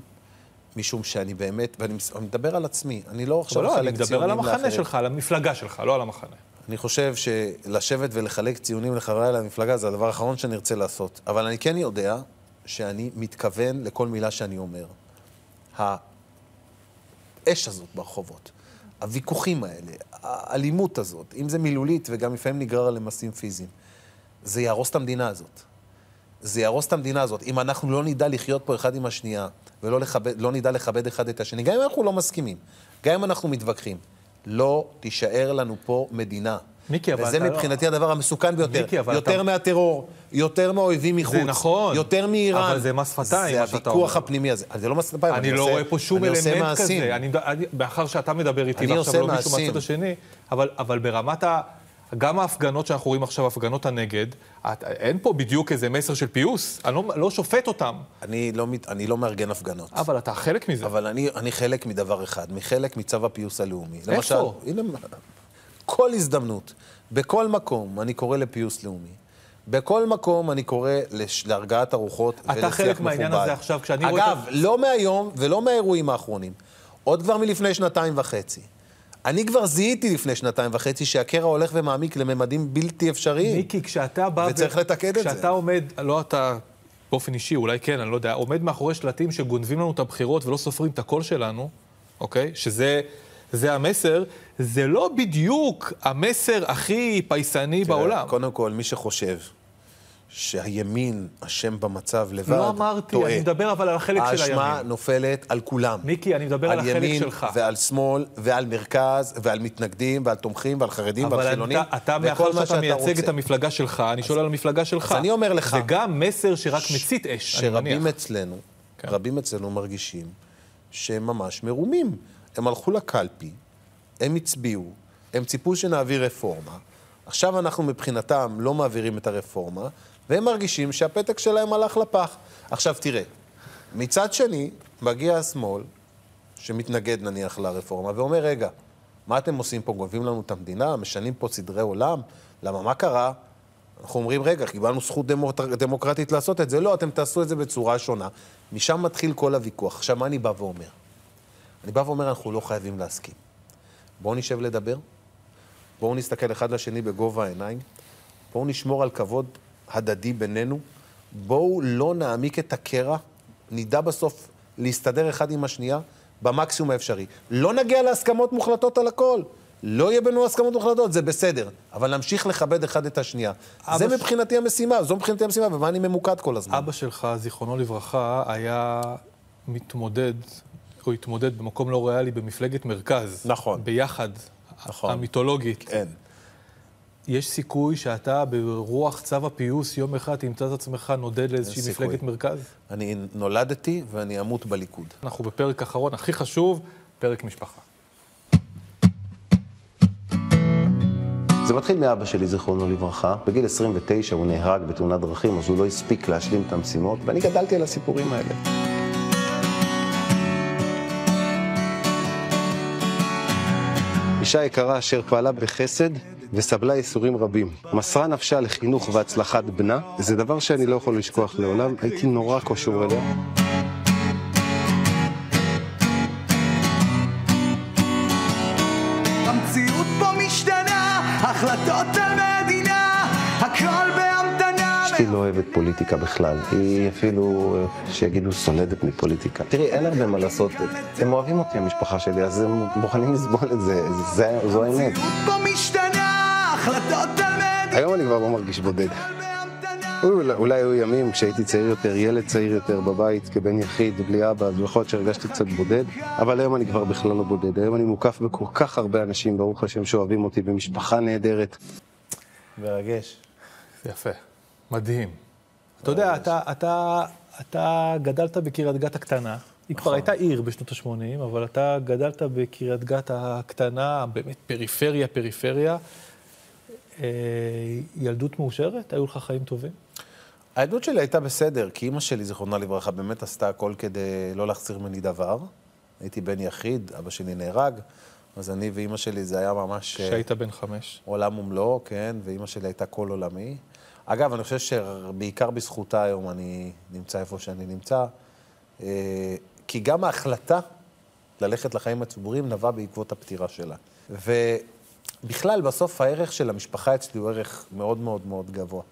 B: משום שאני באמת, ואני מס- אני מדבר על עצמי, אני לא
A: אבל
B: עכשיו
A: לא, אני
B: מחלק
A: מדבר על
B: ציונים
A: המחנה
B: לאחרים.
A: שלך, על המפלגה שלך, לא על המחנה.
B: אני חושב שלשבת ולחלק ציונים לחבריי למפלגה זה הדבר האחרון שנרצה לעשות. אבל אני כן יודע שאני מתכוון לכל מילה שאני אומר. האש הזאת ברחובות, הוויכוחים האלה, האלימות הזאת, אם זה מילולית וגם לפעמים נגרר למעשים פיזיים, זה יהרוס את המדינה הזאת. זה יהרוס את המדינה הזאת. אם אנחנו לא נדע לחיות פה אחד עם השנייה, ולא לכבד, לא נדע לכבד אחד את השני, גם אם אנחנו לא מסכימים, גם אם אנחנו מתווכחים, לא תישאר לנו פה מדינה.
A: מיקי, אבל
B: וזה
A: אתה לא-
B: מבחינתי הדבר המסוכן ביותר.
A: מיקי, אבל
B: יותר
A: אתה-
B: מהטרור, יותר מהאויבים מחוץ.
A: זה נכון.
B: יותר מאיראן.
A: אבל זה מס שפתיים,
B: זה
A: מה שאתה
B: הוויכוח
A: אומר.
B: הפנימי הזה. זה לא מס שפתיים,
A: אני לא
B: עושה-
A: רואה פה שום
B: אני עושה
A: אלמנט
B: מעשים.
A: כזה. אני- אני- מאחר שאתה מדבר איתי,
B: אני עושה
A: ועכשיו לא מישהו
B: מעשים.
A: מהצד השני, אבל- אבל ברמת ה... גם ההפגנות שאנחנו רואים עכשיו, הפגנות הנגד, את- אין פה בדיוק איזה מסר של פיוס. אני לא- לא שופט אותם,
B: אני לא, מת- אני לא מארגן הפגנות.
A: אבל אתה חלק מזה.
B: אבל אני, אני חלק מדבר אחד, מחלק מצו הפיוס הלאומי.
A: איפה?
B: למשל, הנה, כל הזדמנות, בכל מקום אני קורא לפיוס לאומי. בכל מקום אני קורא לש... להרגעת הרוחות ולשיח מכובד.
A: אתה חלק מהעניין הזה עכשיו, כשאני רואה...
B: אגב, לא מהיום ולא מהאירועים האחרונים, עוד כבר מלפני שנתיים וחצי. אני כבר זיהיתי לפני שנתיים וחצי שהקרע הולך ומעמיק לממדים בלתי אפשריים.
A: מיקי, כשאתה בא... ו-
B: וצריך לתקן את זה.
A: כשאתה עומד, לא אתה באופן אישי, אולי כן, אני לא יודע, עומד מאחורי שלטים שגונבים לנו את הבחירות ולא סופרים את הקול שלנו, אוקיי? שזה זה המסר, זה לא בדיוק המסר הכי פייסני
B: תראה,
A: בעולם.
B: אוקיי, קודם כל, מי שחושב שהימין אשם במצב לבד, טועה. אה,
A: לא אמרתי, אני מדבר אבל על החלק של
B: האשמה
A: הימין.
B: נופלת על כולם.
A: מיקי, אני מדבר על החלק
B: ימין
A: שלך.
B: ועל שמאל, ועל מרכז, ועל מתנגדים, ועל תומכים, ועל חרדים, ועל
A: אבל
B: חילונים,
A: אתה, אתה
B: וכל
A: מאחר
B: מה
A: שאתה מייצג
B: רוצה.
A: את המפלגה שלך, אני שואל על המפלגה שלך.
B: אז אני אומר לך-
A: זה גם מסר שרק מצית אש, אני מניח.
B: שרבים אצלנו, כן. רבים אצלנו מרגישים שהם ממש מרומים. הם הלכו לקלפי, הם הצביעו, הם ציפו שנעביר רפורמה. עכשיו אנחנו מבחינתם לא מעבירים את הרפורמה, והם מרגישים שהפתק שלהם הלך לפח. עכשיו תראה, מצד שני, מגיע השמאל, שמתנגד נניח לרפורמה, ואומר, רגע, מה אתם עושים פה? גונבים לנו את המדינה? משנים פה סדרי עולם? למה, מה קרה? אנחנו אומרים, רגע, קיבלנו זכות דמוקרט... דמוקרטית לעשות את זה. לא, אתם תעשו את זה בצורה שונה. משם מתחיל כל הוויכוח. עכשיו, מה אני בא ואומר? אני בא ואומר, אנחנו לא חייבים להסכים. בואו נשב לדבר, בואו נסתכל אחד לשני בגובה העיניים, בואו נשמור על כבוד הדדי בינינו, בואו לא נעמיק את הקרע, נדע בסוף להסתדר אחד עם השנייה במקסימום האפשרי. לא נגיע להסכמות מוחלטות על הכל. לא יהיה בינינו הסכמות מוחלטות, זה בסדר, אבל נמשיך לכבד אחד את השנייה.
A: אבא
B: זה
A: ש-
B: מבחינתי המשימה, זו מבחינתי המשימה, ומה אני ממוקד כל הזמן.
A: אבא שלך, זיכרונו לברכה, היה מתמודד, או התמודד במקום לא ריאלי במפלגת מרכז.
B: נכון.
A: ביחד.
B: נכון.
A: המיתולוגית.
B: כן.
A: יש סיכוי שאתה ברוח צו הפיוס יום אחד תמצא את עצמך נודד לאיזושהי
B: סיכוי.
A: מפלגת מרכז?
B: אני נולדתי ואני אמות בליכוד.
A: אנחנו בפרק אחרון, הכי חשוב, פרק משפחה.
L: זה מתחיל מאבא שלי, זיכרונו לברכה. בגיל 29 הוא נהרג בתאונת דרכים, אז הוא לא הספיק להשלים את המשימות, ואני גדלתי על הסיפורים האלה. אישה יקרה אשר פעלה בחסד וסבלה ייסורים רבים. מסרה נפשה לחינוך והצלחת בנה, זה דבר שאני לא יכול לשכוח לעולם, הייתי נורא קשור אליה.
M: המציאות פה משתנה, החלטות על מדינה, הכל בהמתנה.
L: אשתי לא אוהבת פוליטיקה בכלל. היא אפילו, אה, שיגידו, סולדת מפוליטיקה. תראי, אין הרבה מה לעשות. הם אוהבים אותי, המשפחה שלי, אז הם מוכנים לסבול את זה. זה- זו האמת.
M: פה משתנה, החלטות על
L: היום אני כבר לא מרגיש בודד. אולי, אולי היו ימים כשהייתי צעיר יותר, ילד צעיר יותר בבית, כבן יחיד, בלי אבא, אז יכול להיות שהרגשתי קצת בודד, אבל היום אני כבר בכלל לא בודד. היום אני מוקף בכל כך הרבה אנשים, ברוך השם, שאוהבים אותי, במשפחה נהדרת.
B: מרגש.
A: זה יפה. מדהים.
N: אתה יודע, אתה, אתה, אתה גדלת בקריית גת הקטנה. היא כבר הייתה עיר בשנות ה-80, אבל אתה גדלת בקריית גת הקטנה, באמת פריפריה, פריפריה. אה, ילדות מאושרת? היו לך חיים טובים?
B: העדות שלי הייתה בסדר, כי אימא שלי, זיכרונה לברכה, באמת עשתה הכל כדי לא להחסיר ממני דבר. הייתי בן יחיד, אבא שלי נהרג, אז אני ואימא שלי זה היה ממש... אה,
A: כשהיית בן חמש.
B: עולם ומלואו, כן, ואימא שלי הייתה כל עולמי. אגב, אני חושב שבעיקר בזכותה היום אני נמצא איפה שאני נמצא, אה, כי גם ההחלטה ללכת לחיים הציבוריים נבעה בעקבות הפטירה שלה. ובכלל, בסוף הערך של המשפחה אצלי הוא ערך מאוד מאוד מאוד גבוה.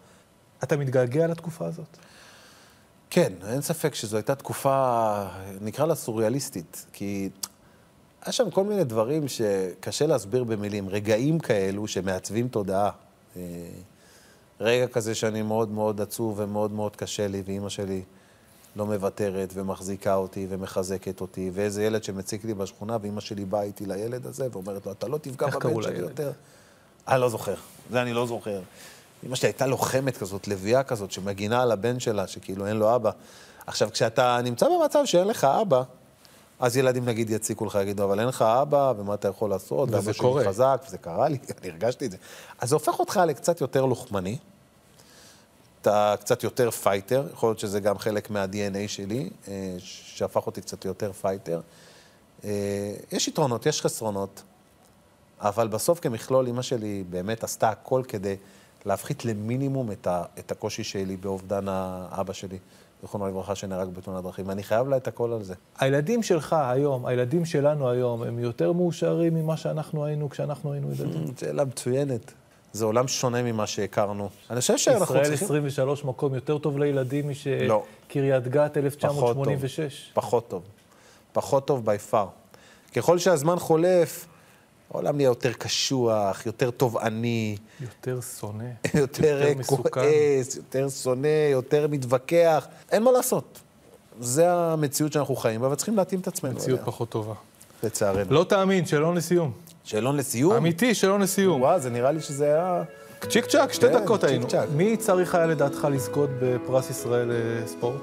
N: אתה מתגעגע לתקופה הזאת?
B: כן, אין ספק שזו הייתה תקופה, נקרא לה סוריאליסטית, כי היה שם כל מיני דברים שקשה להסביר במילים, רגעים כאלו שמעצבים תודעה. אה, רגע כזה שאני מאוד מאוד עצוב ומאוד מאוד קשה לי, ואימא שלי לא מוותרת ומחזיקה אותי ומחזקת אותי, ואיזה ילד שמציק לי בשכונה, ואימא שלי באה איתי לילד הזה ואומרת לו, אתה לא תפגע
N: איך
B: בבן
N: קראו
B: שלי
N: לילד?
B: יותר. אני לא זוכר, זה אני לא זוכר. אמא שלי הייתה לוחמת כזאת, לביאה כזאת, שמגינה על הבן שלה, שכאילו אין לו אבא. עכשיו, כשאתה נמצא במצב שאין לך אבא, אז ילדים נגיד יציקו לך, יגידו, אבל אין לך אבא, ומה אתה יכול לעשות?
A: וזה
B: ואבא שלי
A: קורה.
B: חזק, וזה קרה לי, <laughs> אני הרגשתי את זה. אז זה הופך אותך לקצת יותר לוחמני, אתה קצת יותר פייטר, יכול להיות שזה גם חלק מה-DNA שלי, אה, שהפך אותי קצת יותר פייטר. אה, יש יתרונות, יש חסרונות, אבל בסוף כמכלול, אימא שלי באמת עשתה הכל כדי להפחית למינימום את, ה, את הקושי שלי באובדן האבא שלי, זיכרונו לברכה, שנהרג בתאונת דרכים, ואני חייב לה את הכל על זה.
N: הילדים שלך היום, הילדים שלנו היום, הם יותר מאושרים ממה שאנחנו היינו כשאנחנו היינו ילדים?
B: שאלה מצוינת. זה עולם שונה ממה שהכרנו. אני חושב שאנחנו
N: ישראל
B: כן, צריכים...
N: 23 מקום יותר טוב לילדים מש...
B: לא.
N: קריית גת
B: פחות טוב.
N: 1986.
B: פחות טוב. פחות טוב by far. ככל שהזמן חולף, העולם נהיה יותר קשוח, יותר תובעני,
A: יותר שונא.
B: יותר אה,
A: מסוכן.
B: כועס, יותר שונא, יותר מתווכח. אין מה לעשות. זה המציאות שאנחנו חיים בה, וצריכים להתאים את עצמנו.
A: מציאות
B: אליה,
A: פחות טובה.
B: לצערנו.
A: לא תאמין, שאלון לסיום.
B: שאלון לסיום?
A: אמיתי, שאלון לסיום.
B: וואו, זה נראה לי שזה היה...
A: צ'יק צ'אק, שתי
B: כן,
A: דקות
B: צ'יק
A: היינו.
B: צ'אק.
N: מי צריך היה לדעתך לזכות בפרס ישראל אה, ספורט?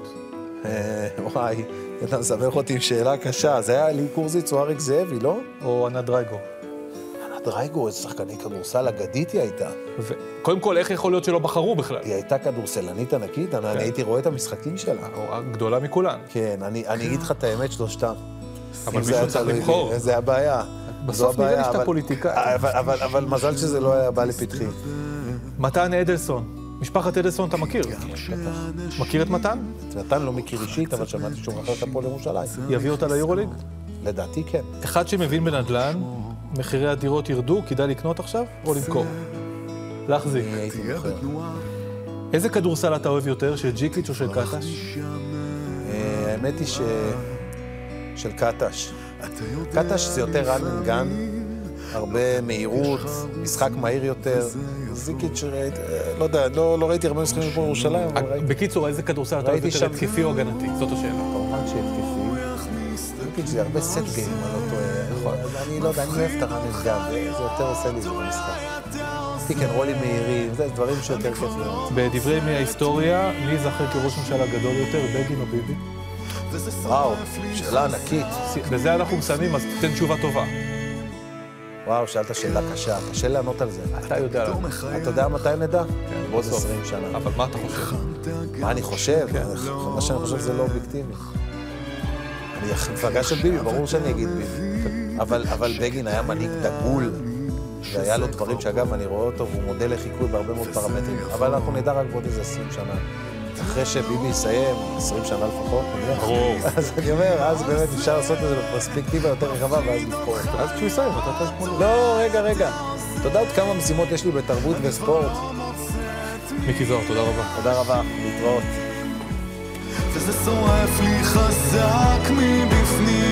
B: אה, וואי, אתה מסבך אותי עם שאלה קשה. זה היה לי קורזיץ או אריק זאבי, לא?
N: או ענת דרייגו.
B: ענת דרייגו, איזה שחקנית כדורסל אגדית היא הייתה.
A: קודם כל, איך יכול להיות שלא בחרו בכלל?
B: היא הייתה כדורסלנית ענקית,
A: כן.
B: אני אני הייתי רואה את המשחקים שלה.
A: גדולה מכולן.
B: כן, אני אני אגיד לך את האמת, שלושתם.
A: אבל
B: אם זה
A: מישהו
B: היה
A: צריך
B: תלוי בי,
A: לבחור.
B: זה הבעיה.
A: בסוף
B: זו
A: נראה לי
B: הבעיה,
A: שאתה
B: אבל-
A: פוליטיקאי.
B: אבל- אבל- אבל מזל שזה לא היה בא לפתחי.
N: מתן אדלסון. משפחת אדלסון אתה מכיר?
B: כן.
N: מכיר את מתן?
B: את מתן לא מכיר אישית, אבל שמעתי שהוא מכר את הפועל ירושלים.
N: יביא אותה ליורוליג?
B: לדעתי כן.
N: אחד שמבין בנדל"ן, מחירי הדירות ירדו, כדאי לקנות עכשיו או למכור? להחזיק. איזה כדורסל אתה אוהב יותר, של ג'יקיץ' או של
B: לא
N: קטש?
B: אה, האמת היא ש... של קטש. קטש זה יותר run and gun, הרבה מהירות, משחק מהיר יותר. זיקיץ', ראית- אה, לא יודע, לא לא ראיתי הרבה משחקים פה בירושלים,
A: אה,
B: אבל ראיתי.
N: בקיצור, איזה כדורסל אתה אוהב
B: ראיתי
N: יותר,
B: שם-
N: התקפי או הגנתי? זאת השאלה.
B: כמובן שהתקפי. זיקיץ' זה הרבה סט גיים, אני לא טועה. נכון. אני לא יודע, אני אוהב את הרן and gun, זה- זה יותר עושה לי את זה במשחק. טיקן רולים מהירים, זה דברים שיותר כיפים.
N: בדברי ימי ההיסטוריה, מי ייזכר כראש ממשלה גדול יותר, בגין או ביבי?
B: וואו, שאלה ענקית.
N: לזה אנחנו מסיימים, אז תן תשובה טובה.
B: וואו, שאלת שאלה קשה, קשה לענות על זה.
N: אתה יודע לענות.
B: אתה יודע מתי נדע?
A: כן,
B: בעוד 20 שנה.
N: אבל מה אתה חושב?
B: מה אני חושב?
A: כן,
B: מה שאני חושב זה לא אובייקטיבי. אני מפלגה של ביבי, ברור שאני אגיד ביבי. אבל, אבל בגין היה מנהיג דגול, והיה לו דברים שאגב, אני רואה אותו והוא מודל לחיקוי בהרבה מאוד פרמטרים, אבל אנחנו נדע רק בעוד איזה 20 שנה. אחרי שביבי יסיים, 20 שנה לפחות, נניח.
A: ברור.
B: אז אני אומר, אז באמת אפשר לעשות את זה בפרספקטיבה יותר רחבה, ואז לבחור.
A: אז כשהוא יסיים, אתה תשמע.
B: לא, רגע, רגע. אתה יודע עוד כמה משימות יש לי בתרבות וספורט?
A: מיקי זוהר, תודה רבה.
B: תודה רבה, להתראות.
K: וזה שורף לי חזק מבפנים